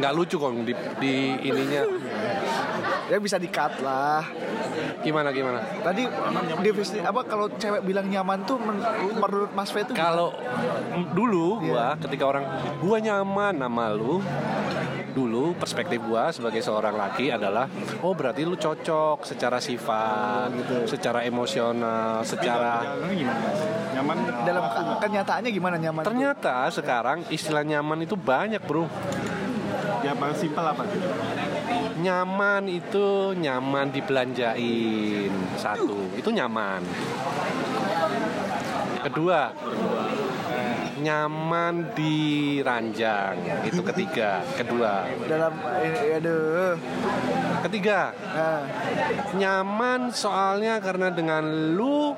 Speaker 3: nggak lucu kok di, di ininya
Speaker 1: ya bisa dikat lah
Speaker 3: gimana gimana
Speaker 1: Tadi definisi apa kalau cewek bilang nyaman tuh men- menurut Mas Fe tuh
Speaker 3: kalau dulu gua ketika orang gua nyaman sama lu dulu perspektif gua sebagai seorang laki adalah oh berarti lu cocok secara sifat secara emosional secara
Speaker 2: nyaman
Speaker 1: dalam ke- kenyataannya gimana nyaman?
Speaker 3: ternyata sekarang istilah nyaman itu banyak bro
Speaker 2: ya paling simpel apa
Speaker 3: nyaman itu nyaman dibelanjain satu itu nyaman kedua nyaman diranjang itu ketiga kedua
Speaker 1: dalam eh, aduh.
Speaker 3: ketiga
Speaker 1: Nah,
Speaker 3: nyaman soalnya karena dengan lu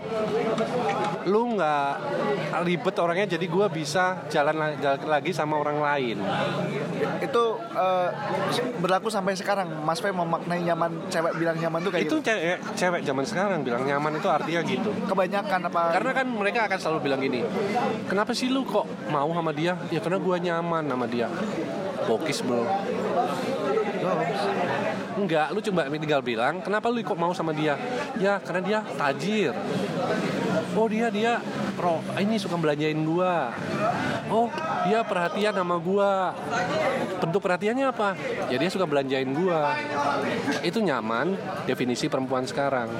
Speaker 3: lu nggak ribet orangnya jadi gua bisa jalan, la- jalan lagi sama orang lain
Speaker 1: itu eh, berlaku sampai sekarang. Mas Fe memaknai nyaman cewek bilang nyaman tuh kayak
Speaker 3: itu
Speaker 1: gitu.
Speaker 3: cewek, cewek zaman sekarang bilang nyaman itu artinya gitu
Speaker 1: kebanyakan apa?
Speaker 3: karena kan mereka akan selalu bilang gini kenapa sih lu kok mau sama dia ya karena gua nyaman sama dia bokis bro Enggak, lu coba tinggal bilang kenapa lu kok mau sama dia? Ya karena dia tajir. Oh dia dia pro ini suka belanjain gua. Oh dia perhatian sama gua. Bentuk perhatiannya apa? Ya dia suka belanjain gua. Itu nyaman definisi perempuan sekarang.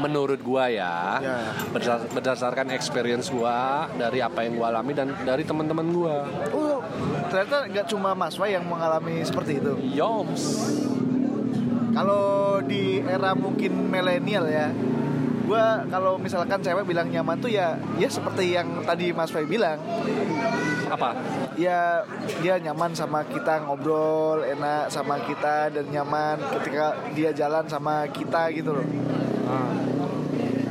Speaker 3: Menurut gua ya,
Speaker 1: Ya.
Speaker 3: berdasar- berdasarkan experience gua dari apa yang gua alami dan dari teman-teman gua.
Speaker 1: Oh, ternyata nggak cuma Mas Fe yang mengalami seperti itu.
Speaker 3: Yoms.
Speaker 1: Kalau di era mungkin milenial ya, gua kalau misalkan cewek bilang nyaman tuh ya ya seperti yang tadi Mas Fe bilang
Speaker 3: Apa?
Speaker 1: ya dia nyaman sama kita ngobrol enak sama kita dan nyaman ketika dia jalan sama kita gitu loh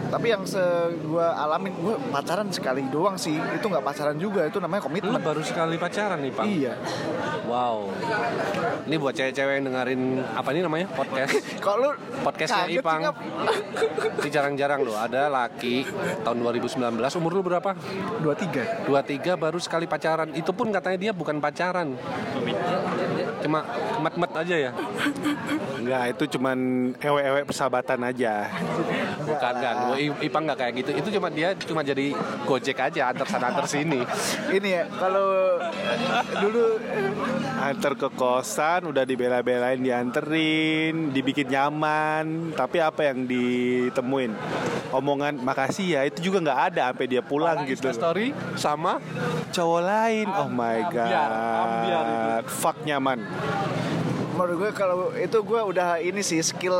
Speaker 1: tapi yang se gue alamin gue pacaran sekali doang sih itu nggak pacaran juga itu namanya
Speaker 3: Lu
Speaker 1: komitmen
Speaker 3: baru sekali pacaran nih, Pak.
Speaker 1: Hmm? iya
Speaker 3: Wow. Ini buat cewek-cewek yang dengerin apa ini namanya? Podcast.
Speaker 1: kalau lu
Speaker 3: Podcastnya
Speaker 1: kaget sih,
Speaker 3: Ipang.
Speaker 1: Ngap.
Speaker 3: Ini jarang-jarang loh ada laki tahun 2019 umur lu berapa?
Speaker 1: 23
Speaker 3: 23 baru sekali pacaran. Itu pun katanya dia bukan pacaran. Cuma met-met aja ya.
Speaker 2: Enggak, itu cuman ewe-ewe persahabatan aja.
Speaker 3: Bukan kan. Gua I- Ipang nggak kayak gitu. Itu cuma dia cuma jadi Gojek aja antar sana antar sini.
Speaker 1: ini ya kalau dulu
Speaker 2: Antar ke kosan, udah dibela-belain, dianterin, dibikin nyaman. Tapi apa yang ditemuin? Omongan makasih ya, itu juga nggak ada sampai dia pulang gitu.
Speaker 3: Insta story sama
Speaker 2: Cowok lain, oh my god,
Speaker 3: Ambiar, ambiar itu.
Speaker 2: fuck nyaman.
Speaker 1: menurut gue kalau itu gue udah ini sih skill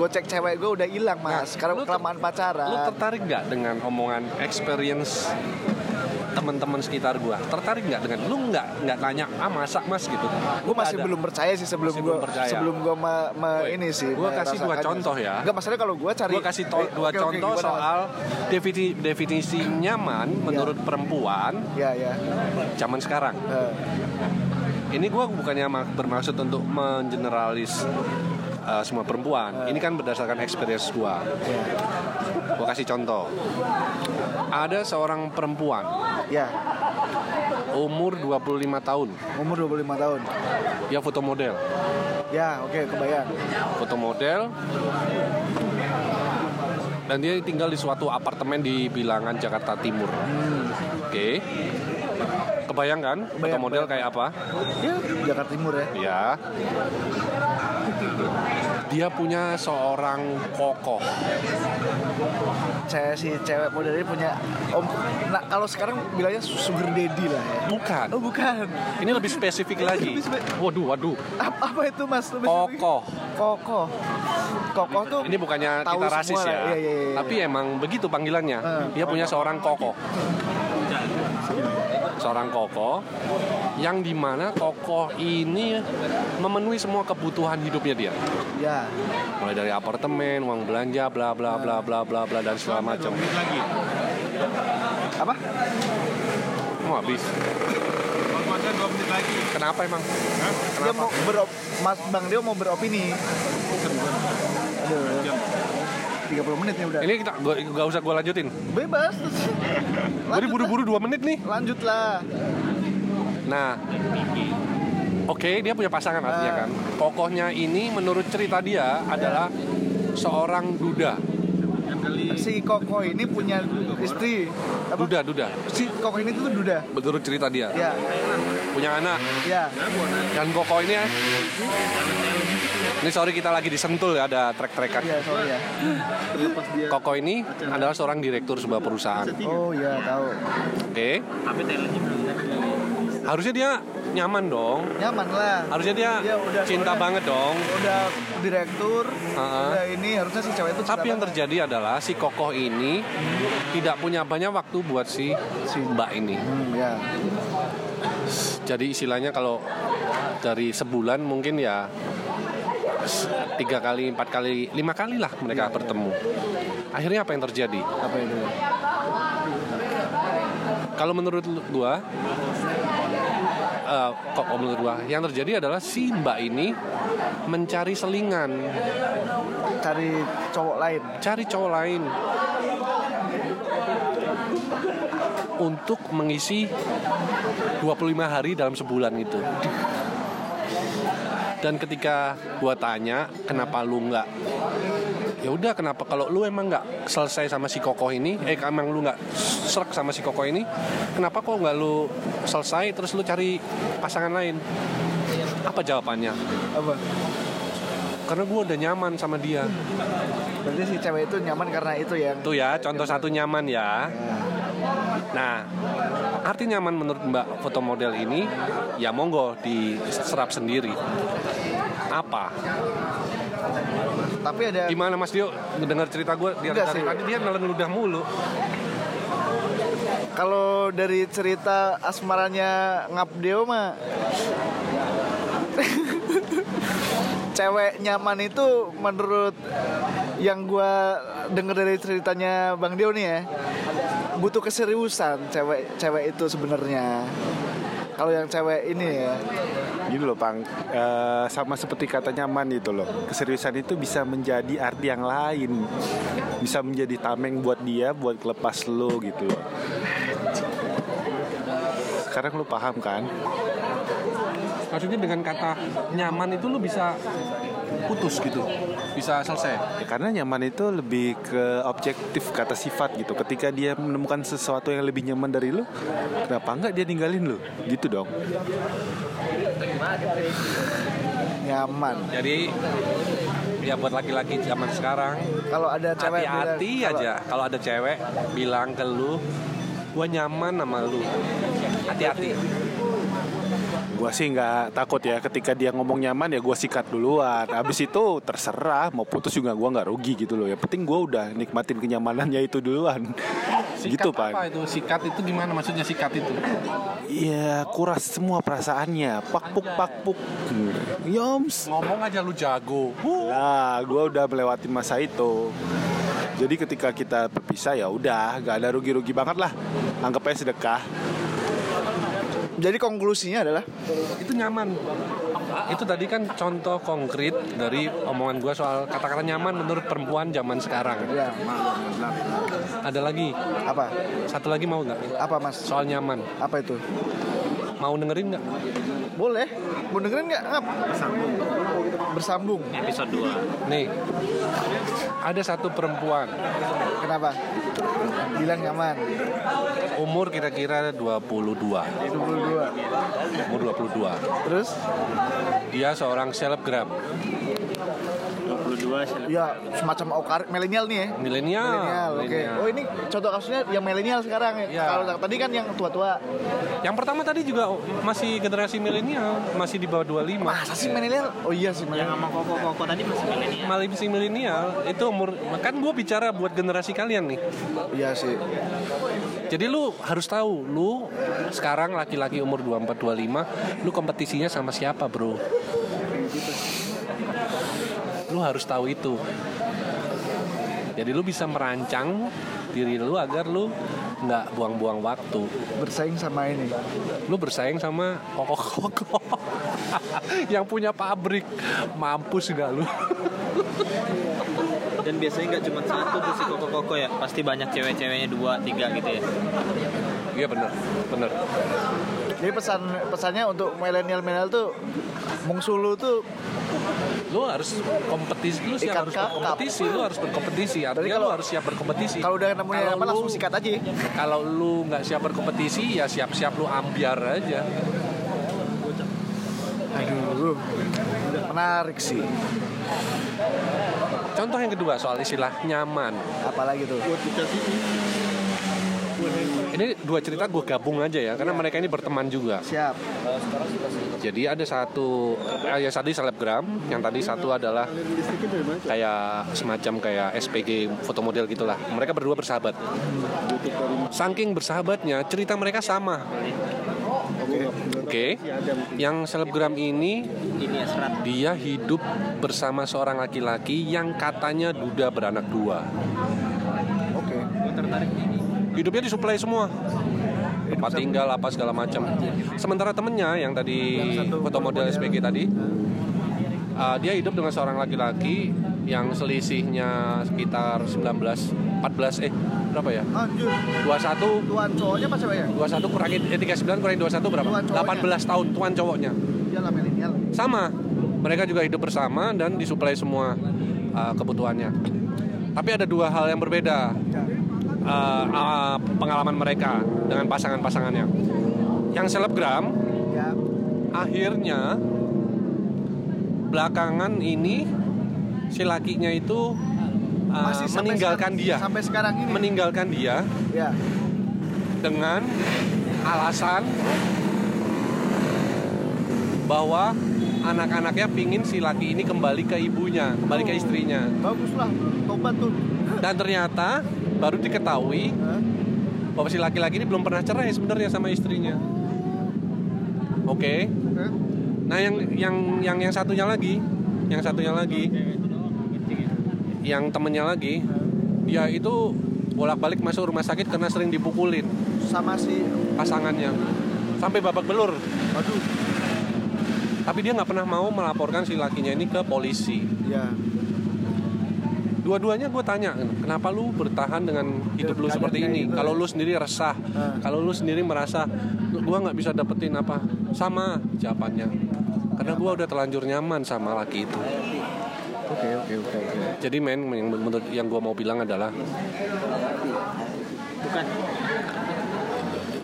Speaker 1: gocek cewek gue udah hilang mas sekarang
Speaker 3: Nah, lu ter-
Speaker 1: kelamaan
Speaker 3: Lu
Speaker 1: pacaran
Speaker 3: tertarik nggak dengan omongan experience teman-teman sekitar gua? Tertarik nggak dengan lu nggak nggak nanya ah masak mas gitu?
Speaker 1: gue masih
Speaker 3: Nggak ada.
Speaker 1: belum percaya sih sebelum
Speaker 3: Masih
Speaker 1: gue
Speaker 3: belum percaya.
Speaker 1: sebelum gue ma- ma-
Speaker 3: Woi,
Speaker 1: ini sih
Speaker 3: gua kasih dua contoh ya.
Speaker 1: Gak masalah kalau gue cari
Speaker 3: Gue kasih to-
Speaker 1: Eh, oke,
Speaker 3: dua
Speaker 1: oke,
Speaker 3: contoh
Speaker 1: gimana, Mas?
Speaker 3: soal definisi, definisi nyaman menurut
Speaker 1: Iya.
Speaker 3: perempuan
Speaker 1: ya ya
Speaker 3: zaman sekarang.
Speaker 1: Eh,
Speaker 3: Ini gue bukannya ma- bermaksud untuk mengeneralis uh, semua perempuan. Ini kan berdasarkan experience gue.
Speaker 1: ya.
Speaker 3: Gue kasih contoh. Ada seorang perempuan
Speaker 1: ya
Speaker 3: umur 25 tahun.
Speaker 1: umur 25 tahun
Speaker 3: Dia foto model.
Speaker 1: ya oke kebayang
Speaker 3: Foto model. Dan dia tinggal di suatu apartemen di bilangan Jakarta Timur. Oke. Kebayang kan foto
Speaker 1: Kebayang,
Speaker 3: model kayak apa?
Speaker 1: ya Jakarta Timur ya
Speaker 3: Ya. Dia punya seorang kokoh.
Speaker 1: saya si cewek model ini punya om nah kalau sekarang bilangnya sugar daddy lah ya
Speaker 3: Bukan.
Speaker 1: oh bukan
Speaker 3: Ini lebih spesifik lagi.
Speaker 1: Lebih spe-
Speaker 3: Waduh, waduh.
Speaker 1: apa, apa itu mas Lebih spesifik.
Speaker 3: Kokoh.
Speaker 1: koko koko tuh
Speaker 3: Ini bukannya
Speaker 1: tahu
Speaker 3: kita
Speaker 1: semua
Speaker 3: rasis
Speaker 1: lah.
Speaker 3: ya.
Speaker 1: Iya, iya, iya.
Speaker 3: Tapi emang begitu panggilannya.
Speaker 1: Eh.
Speaker 3: Dia punya seorang kokoh. Seorang kokoh yang dimana kokoh ini memenuhi semua kebutuhan hidupnya dia.
Speaker 1: ya
Speaker 3: Mulai dari apartemen, uang belanja, bla bla bla bla bla bla dan segala macam.
Speaker 1: apa
Speaker 3: Mau habis. Kenapa emang?
Speaker 1: dia mau berop mas bang Dio mau beropini aduh 30 menit nih udah
Speaker 3: Ini kita gua, gak usah gue lanjutin.
Speaker 1: bebas
Speaker 3: Gue
Speaker 1: Lanjut lah.
Speaker 3: buru-buru dua menit nih.
Speaker 1: lanjut lah
Speaker 3: Nah, oke dia punya pasangan artinya kan. Kokohnya ini menurut cerita dia adalah seorang duda,
Speaker 1: si koko ini punya istri apa
Speaker 3: duda, duda.
Speaker 1: si koko ini tuh duda
Speaker 3: Menurut cerita dia
Speaker 1: ya
Speaker 3: punya anak
Speaker 1: ya
Speaker 3: dan kokoh ini ya. Ini sorry kita lagi disentul ya ada track-trackan.
Speaker 1: iya sorry ya
Speaker 3: Kokoh ini adalah seorang direktur sebuah perusahaan.
Speaker 1: oh iya tahu
Speaker 3: Oke. Harusnya dia nyaman dong.
Speaker 1: nyaman lah
Speaker 3: Harusnya dia
Speaker 1: Dia udah-
Speaker 3: cinta
Speaker 1: udah-
Speaker 3: banget dong.
Speaker 1: udah direktur
Speaker 3: Ha-ha.
Speaker 1: udah ini harusnya si cewek itu
Speaker 3: Tapi yang terjadi adalah si kokoh ini tidak punya banyak waktu buat si si mbak ini.
Speaker 1: Hmm, ya
Speaker 3: Jadi istilahnya kalau dari sebulan mungkin ya s- tiga kali, empat kali, lima kali lah mereka bertemu. Akhirnya apa yang terjadi?
Speaker 1: apa itu
Speaker 3: Kalau menurut lu- gua, eh, kok kok menurut gua, yang terjadi adalah si mbak ini mencari selingan,
Speaker 1: cari cowok lain
Speaker 3: cari cowok lain untuk mengisi 25 hari dalam sebulan itu. Dan ketika gua tanya, kenapa lu nggak? Ya udah, kenapa kalau lu emang nggak selesai sama si kokoh ini, eh emang lu nggak serak sama si kokoh ini, kenapa kok nggak lu selesai terus lu cari pasangan lain? Apa jawabannya?
Speaker 1: apa
Speaker 3: Karena gua udah nyaman sama dia.
Speaker 1: berarti si cewek itu nyaman karena itu yang
Speaker 3: Itu ya contoh satu nyaman ya. Nah, arti nyaman menurut Mbak foto model ini ya monggo diserap sendiri. Apa?
Speaker 1: tapi ada
Speaker 3: Gimana Mas Dio dengar cerita gue dia
Speaker 1: Enggak
Speaker 3: dari
Speaker 1: sih.
Speaker 3: tadi dia nelen ludah mulu.
Speaker 1: kalau dari cerita asmaranya Ngabdeo mah cewek nyaman itu menurut yang gue denger dari ceritanya Bang Dio nih ya butuh keseriusan cewek cewek itu sebenarnya kalau yang cewek ini ya
Speaker 2: Gini loh Pang, eh, sama seperti kata nyaman itu loh Keseriusan itu bisa menjadi arti yang lain Bisa menjadi tameng buat dia, buat kelepas lo gitu loh Sekarang lo paham kan?
Speaker 3: Maksudnya dengan kata nyaman itu lu bisa putus gitu, bisa selesai.
Speaker 2: Ya, karena nyaman itu lebih ke objektif kata sifat gitu Ketika dia menemukan sesuatu yang lebih nyaman dari lo Kenapa enggak dia ninggalin lo? Gitu dong
Speaker 1: nyaman
Speaker 3: Jadi ya buat laki-laki zaman sekarang
Speaker 1: kalau ada cewek bilang-
Speaker 3: hati-hati
Speaker 1: kalau-
Speaker 3: aja kalau ada cewek bilang ke lu gua nyaman sama lu hati-hati
Speaker 2: Gua sih nggak takut ya ketika dia ngomong nyaman ya gue sikat duluan Abis itu terserah mau putus juga gua nggak rugi gitu loh Yang penting gua udah nikmatin kenyamanannya itu duluan Gitu
Speaker 3: apa
Speaker 2: Pan
Speaker 3: itu sikat itu gimana maksudnya sikat itu
Speaker 2: Iya kuras semua perasaannya Pak puk pak puk Yoms
Speaker 3: ngomong aja lu jago Huh.
Speaker 2: Nah gue udah melewati masa itu jadi ketika kita berpisah ya udah nggak ada rugi-rugi banget lah anggap aja sedekah
Speaker 1: jadi konklusinya adalah
Speaker 3: itu nyaman itu tadi kan contoh konkret dari omongan gua soal kata-kata nyaman menurut perempuan zaman sekarang
Speaker 1: ya
Speaker 3: ada lagi
Speaker 1: apa
Speaker 3: satu lagi mau nggak
Speaker 1: apa mas
Speaker 3: soal nyaman
Speaker 1: apa itu
Speaker 3: mau dengerin nggak
Speaker 1: boleh mau dengerin nggak Ngap? bersambung
Speaker 4: episode 2
Speaker 3: nih ada satu perempuan
Speaker 1: kenapa bilang nyaman
Speaker 3: umur kira-kira 22
Speaker 1: 22
Speaker 3: umur 22
Speaker 1: terus
Speaker 3: Dia seorang selebgram,
Speaker 4: 22 sel-
Speaker 1: ya semacam okar milenial nih ya
Speaker 3: milenial.
Speaker 1: milenial oke
Speaker 3: milenial.
Speaker 1: oh ini contoh kasusnya yang milenial sekarang ya
Speaker 3: Iya.
Speaker 1: kalau tadi kan yang tua-tua
Speaker 3: Yang pertama tadi juga masih generasi milenial, masih di bawah 25.
Speaker 1: masa sih milenial oh iya sih
Speaker 4: yang
Speaker 1: milenial
Speaker 4: sama koko koko tadi masih milenial
Speaker 3: Malah masih milenial itu umur kan gue bicara buat generasi kalian nih
Speaker 1: iya sih
Speaker 3: jadi lu harus tahu lu sekarang laki-laki umur 24 25 lu kompetisinya sama siapa bro lu harus tahu itu jadi lu bisa merancang diri lu agar lu nggak buang-buang waktu
Speaker 1: bersaing sama ini
Speaker 3: lu bersaing sama kokok-kokok yang punya pabrik mampus nggak lu
Speaker 4: dan biasanya nggak cuma satu tuh si koko koko ya pasti banyak cewek-ceweknya dua tiga gitu ya
Speaker 3: iya bener bener
Speaker 1: jadi pesan pesannya untuk milenial milenial tuh mungsu lu tuh
Speaker 3: lu harus kompetisi lu siap
Speaker 1: Ikat
Speaker 3: harus
Speaker 1: kakap.
Speaker 3: berkompetisi lu harus berkompetisi artinya
Speaker 1: kalau-
Speaker 3: lu harus siap berkompetisi
Speaker 1: kalau udah nemu yang
Speaker 3: Kalau
Speaker 1: apa
Speaker 3: lu-
Speaker 1: langsung sikat aja
Speaker 3: kalau lu nggak siap berkompetisi ya siap-siap lu ambiar aja
Speaker 1: aduh menarik sih
Speaker 3: contoh yang kedua soal istilah nyaman
Speaker 1: apalagi tuh
Speaker 3: ini dua cerita gue gabung aja
Speaker 1: Iya.
Speaker 3: ya karena mereka ini berteman juga
Speaker 1: siap
Speaker 3: Jadi ada satu eh, ya tadi selebgram, yang tadi satu adalah kayak semacam kayak SPG fotomodel gitulah. Mereka berdua bersahabat. Saking bersahabatnya, cerita mereka sama. Oke. Yang selebgram ini
Speaker 4: ini ya serat
Speaker 3: dia hidup bersama seorang laki-laki yang katanya duda beranak dua.
Speaker 1: oke
Speaker 3: Hidupnya disuplai semua. Tempat tinggal apa segala macam. Sementara temennya yang tadi fotomodel SPG tadi Uh, dia hidup dengan seorang laki-laki yang selisihnya sekitar 19 14 eh berapa ya?
Speaker 1: lanjut
Speaker 3: 21
Speaker 1: tuan cowoknya apa ceweknya
Speaker 3: 21 kurangin eh, 39 kurangin 21 berapa?
Speaker 1: Tuan cowoknya.
Speaker 3: 18 tahun tuan cowoknya.
Speaker 1: dia lah milenial
Speaker 3: Sama. Mereka juga hidup bersama dan disuplai semua uh, kebutuhannya. Tapi ada dua hal yang berbeda. Uh, uh, pengalaman mereka dengan pasangan-pasangannya. Yang selebgram
Speaker 1: ya
Speaker 3: akhirnya belakangan ini si lakinya itu uh,
Speaker 1: Masih sampai
Speaker 3: meninggalkan
Speaker 1: sekarang-
Speaker 3: dia
Speaker 1: sampai sekarang ini
Speaker 3: meninggalkan dia
Speaker 1: ya
Speaker 3: dengan alasan bahwa anak-anaknya pingin si laki ini kembali ke ibunya kembali ke istrinya
Speaker 1: bagus lah tobat tuh
Speaker 3: dan ternyata baru diketahui
Speaker 1: Hah?
Speaker 3: bahwa si laki-laki ini belum pernah cerai sebenarnya sama istrinya oke
Speaker 1: Oke.
Speaker 3: Nah yang yang yang yang satunya lagi, yang satunya lagi, yang temennya lagi dia itu bolak-balik masuk rumah sakit karena sering dipukulin
Speaker 1: sama si
Speaker 3: pasangannya sampai babak belur. Tapi dia nggak pernah mau melaporkan si lakinya ini ke polisi.
Speaker 1: ya
Speaker 3: Dua-duanya gue tanya, kenapa lu bertahan dengan hidup lu seperti ini? Kalau lu sendiri resah, kalau lu sendiri merasa "Lu- gua nggak bisa dapetin apa, sama jawabannya. Karena gua udah terlanjur nyaman sama laki itu.
Speaker 1: oke oke oke oke
Speaker 3: Jadi men, yang menurut yang gue mau bilang adalah
Speaker 4: bukan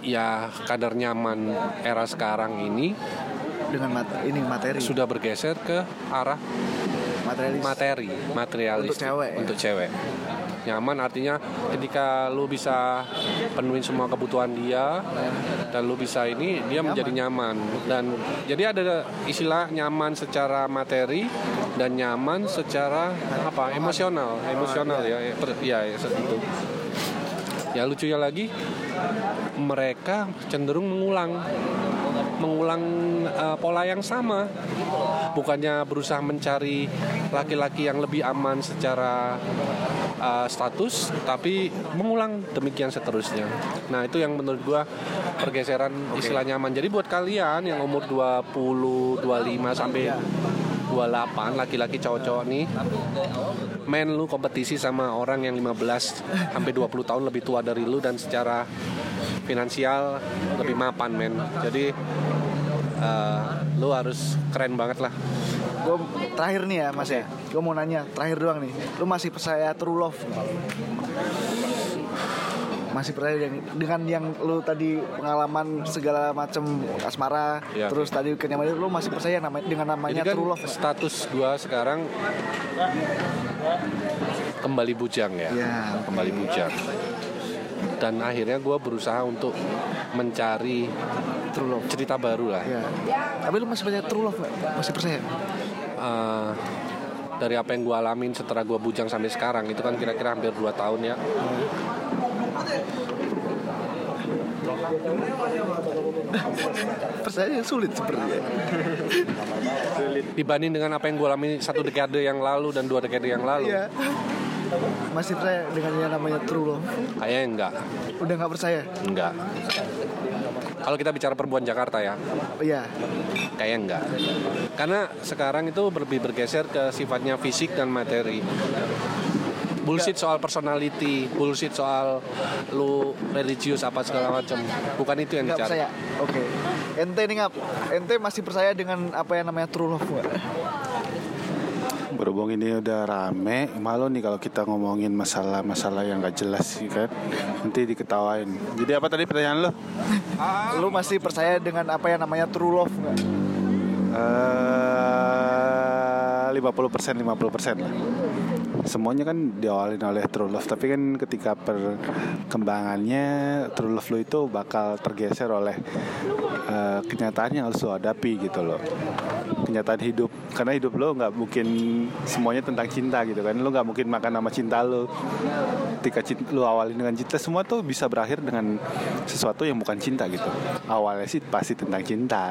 Speaker 3: ya kadar nyaman era sekarang ini
Speaker 1: dengan mata ini materi
Speaker 3: sudah bergeser ke arah
Speaker 1: materialis
Speaker 3: materi materialis
Speaker 1: Untuk cewek, ya?
Speaker 3: untuk cewek nyaman artinya ketika lu bisa penuhin semua kebutuhan dia dan lu bisa ini dia menjadi nyaman dan jadi ada istilah nyaman secara materi dan nyaman secara apa emosional
Speaker 1: Oh,
Speaker 3: emosional
Speaker 1: iya.
Speaker 3: ya ya, per- ya, ya se- itu ya lucunya lagi mereka cenderung mengulang mengulang eh, pola yang sama bukannya berusaha mencari laki-laki yang lebih aman secara eh, status tapi mengulang demikian seterusnya nah itu yang menurut gua pergeseran istilah nyaman jadi buat kalian yang umur 20 25 sampai 28 laki-laki cowok-cowok nih men lu kompetisi sama orang yang 15 sampai 20 tahun lebih tua dari lu dan secara finansial lebih mapan men jadi eh, lu harus keren banget lah
Speaker 1: gue terakhir nih ya mas ya gue mau nanya terakhir doang nih lu masih percaya true love nggak? masih percaya yang- dengan yang lu tadi pengalaman segala macam asmara
Speaker 3: Iya.
Speaker 1: terus tadi kenyamanan lu masih percaya nama- dengan namanya
Speaker 3: jadi kan
Speaker 1: true love nggak?
Speaker 3: status gua sekarang kembali bujang ya
Speaker 1: ya
Speaker 3: kembali bujang dan akhirnya gua berusaha untuk mencari
Speaker 1: true love
Speaker 3: cerita baru lah
Speaker 1: ya tapi lu masih percaya true love nggak? masih percaya
Speaker 3: Eh, dari apa yang gue alamin setelah gue bujang sampai sekarang itu kan kira-kira hampir 2 tahun ya
Speaker 1: percaya sulit sepertinya
Speaker 3: dibanding dengan apa yang gue alami satu dekade yang lalu dan dua dekade yang lalu
Speaker 1: Iya. Masih percaya dengan yang namanya true love?
Speaker 3: kayaknya enggak
Speaker 1: Udah nggak percaya?
Speaker 3: enggak kalau kita bicara perempuan Jakarta ya
Speaker 1: Iya.
Speaker 3: kayaknya enggak karena sekarang itu lebih bergeser ke sifatnya fisik dan materi bullshit soal personality bullshit soal lu religius apa segala macam bukan itu yang
Speaker 1: Nggak
Speaker 3: dicari
Speaker 1: percaya. Oke. Ente nih ngap. Ente masih percaya dengan apa yang namanya true love? nggak?
Speaker 2: Berhubung ini udah rame, malu nih kalau kita ngomongin masalah-masalah yang gak jelas sih kan. Nanti diketawain. Jadi apa tadi pertanyaan lo?
Speaker 1: Lu masih percaya dengan apa yang namanya true love? nggak?
Speaker 2: Eh, 50% 50% lah. Semuanya kan diawalin oleh true love, tapi kan ketika perkembangannya true love lo itu bakal tergeser oleh eh, kenyataan yang harus lo hadapi gitu loh. Kenyataan hidup, karena hidup lo nggak mungkin semuanya tentang cinta gitu kan, lo nggak mungkin makan nama cinta lo. Ketika cinta, lo awalin dengan cinta, semua tuh bisa berakhir dengan sesuatu yang bukan cinta gitu. Awalnya sih pasti tentang cinta.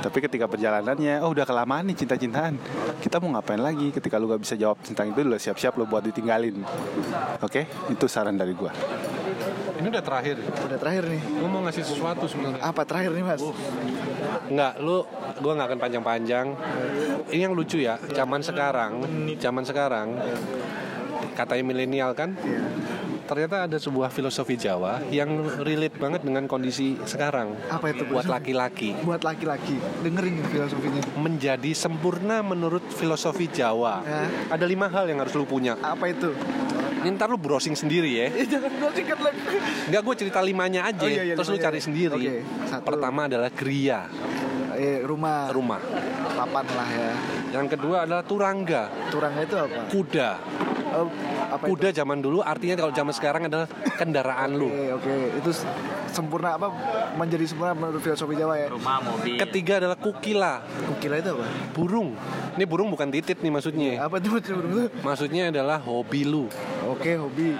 Speaker 2: Tapi ketika perjalanannya, oh udah kelamaan nih cinta-cintaan. Kita mau ngapain lagi? Ketika lu gak bisa jawab tentang itu, lu siap-siap lu buat ditinggalin. Oke, itu saran dari gua.
Speaker 3: ini udah terakhir
Speaker 1: Udah terakhir nih.
Speaker 3: gue mau ngasih sesuatu sebenarnya
Speaker 1: Apa terakhir nih mas?
Speaker 3: Ah, Enggak, lu gua nggak akan panjang-panjang. Ini yang lucu ya, zaman sekarang, zaman sekarang katanya milenial kan. Ternyata ada sebuah filosofi Jawa yang relate banget dengan kondisi sekarang.
Speaker 1: Apa itu,
Speaker 3: Buat
Speaker 1: filosofi?
Speaker 3: laki-laki
Speaker 1: Buat laki-laki. Dengerin nih filosofinya.
Speaker 3: menjadi sempurna menurut filosofi Jawa.
Speaker 1: Ya.
Speaker 3: Ada lima hal yang harus lu punya.
Speaker 1: Apa itu?
Speaker 3: Ini ntar lu browsing sendiri ya.
Speaker 1: Eh, jangan gue singkat lagi.
Speaker 3: Enggak gue cerita limanya
Speaker 1: Oh,
Speaker 3: aja,
Speaker 1: iya, iya,
Speaker 3: terus lu
Speaker 1: limanya.
Speaker 3: cari sendiri.
Speaker 1: Oke, satu.
Speaker 3: Pertama adalah kriya,
Speaker 1: Eh, rumah.
Speaker 3: rumah.
Speaker 1: Papan lah ya.
Speaker 3: Yang kedua adalah turangga,
Speaker 1: Turangnya itu apa?
Speaker 3: kuda.
Speaker 1: eh, apa itu?
Speaker 3: Kuda zaman dulu artinya kalau zaman sekarang adalah kendaraan lu.
Speaker 1: Oke, oke. Itu s- sempurna apa menjadi sempurna menurut filosofi Jawa ya.
Speaker 4: rumah mobil
Speaker 3: Ketiga adalah kukila,
Speaker 1: Kukila itu apa?
Speaker 3: burung. Ini burung bukan titit nih maksudnya.
Speaker 1: Apa itu maksudnya burung itu?
Speaker 3: Maksudnya adalah hobi lu.
Speaker 1: Oke, hobi.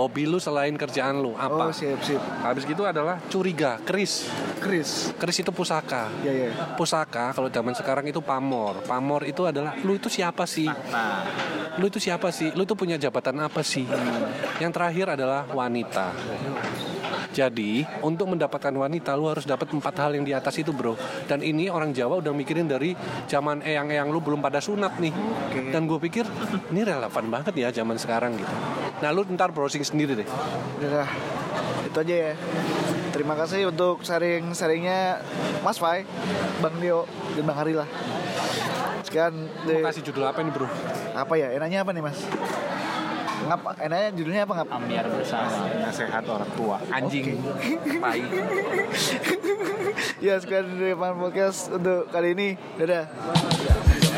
Speaker 3: Hobi lu selain kerjaan
Speaker 1: Oh,
Speaker 3: lu apa?
Speaker 1: siap, siap.
Speaker 3: Habis gitu adalah curiga, keris.
Speaker 1: Chris.
Speaker 3: Keris itu pusaka.
Speaker 1: Ya, ya.
Speaker 3: Pusaka kalau zaman sekarang itu pamor. Pamor itu adalah lu itu siapa sih?
Speaker 4: nah
Speaker 3: Lu itu siapa sih? Lu itu punya jabatan apa sih? Yang terakhir adalah wanita. Jadi, untuk mendapatkan wanita lu harus dapat empat hal yang di atas itu, Bro. Dan ini orang Jawa udah mikirin dari zaman eyang-eyang lu belum pada sunat nih. Dan gue pikir ini relevan banget ya zaman sekarang gitu. Nah, lu ntar browsing sendiri deh.
Speaker 1: Udah. Itu aja ya. Terima kasih untuk sharing-sharingnya Mas Fai, Bang Dio, dan Bang Hari lah. Sekian
Speaker 3: Mau
Speaker 1: dari-
Speaker 3: kasih judul apa ini, Bro?
Speaker 1: apa ya? Enaknya apa nih, Mas? Ngap, enaknya judulnya apa ngap?
Speaker 4: ambiar bersama
Speaker 2: Nasehat orang tua.
Speaker 3: Anjing. Tai.
Speaker 1: Ya, sekian dari Pan Podcast untuk kali ini. Dadah.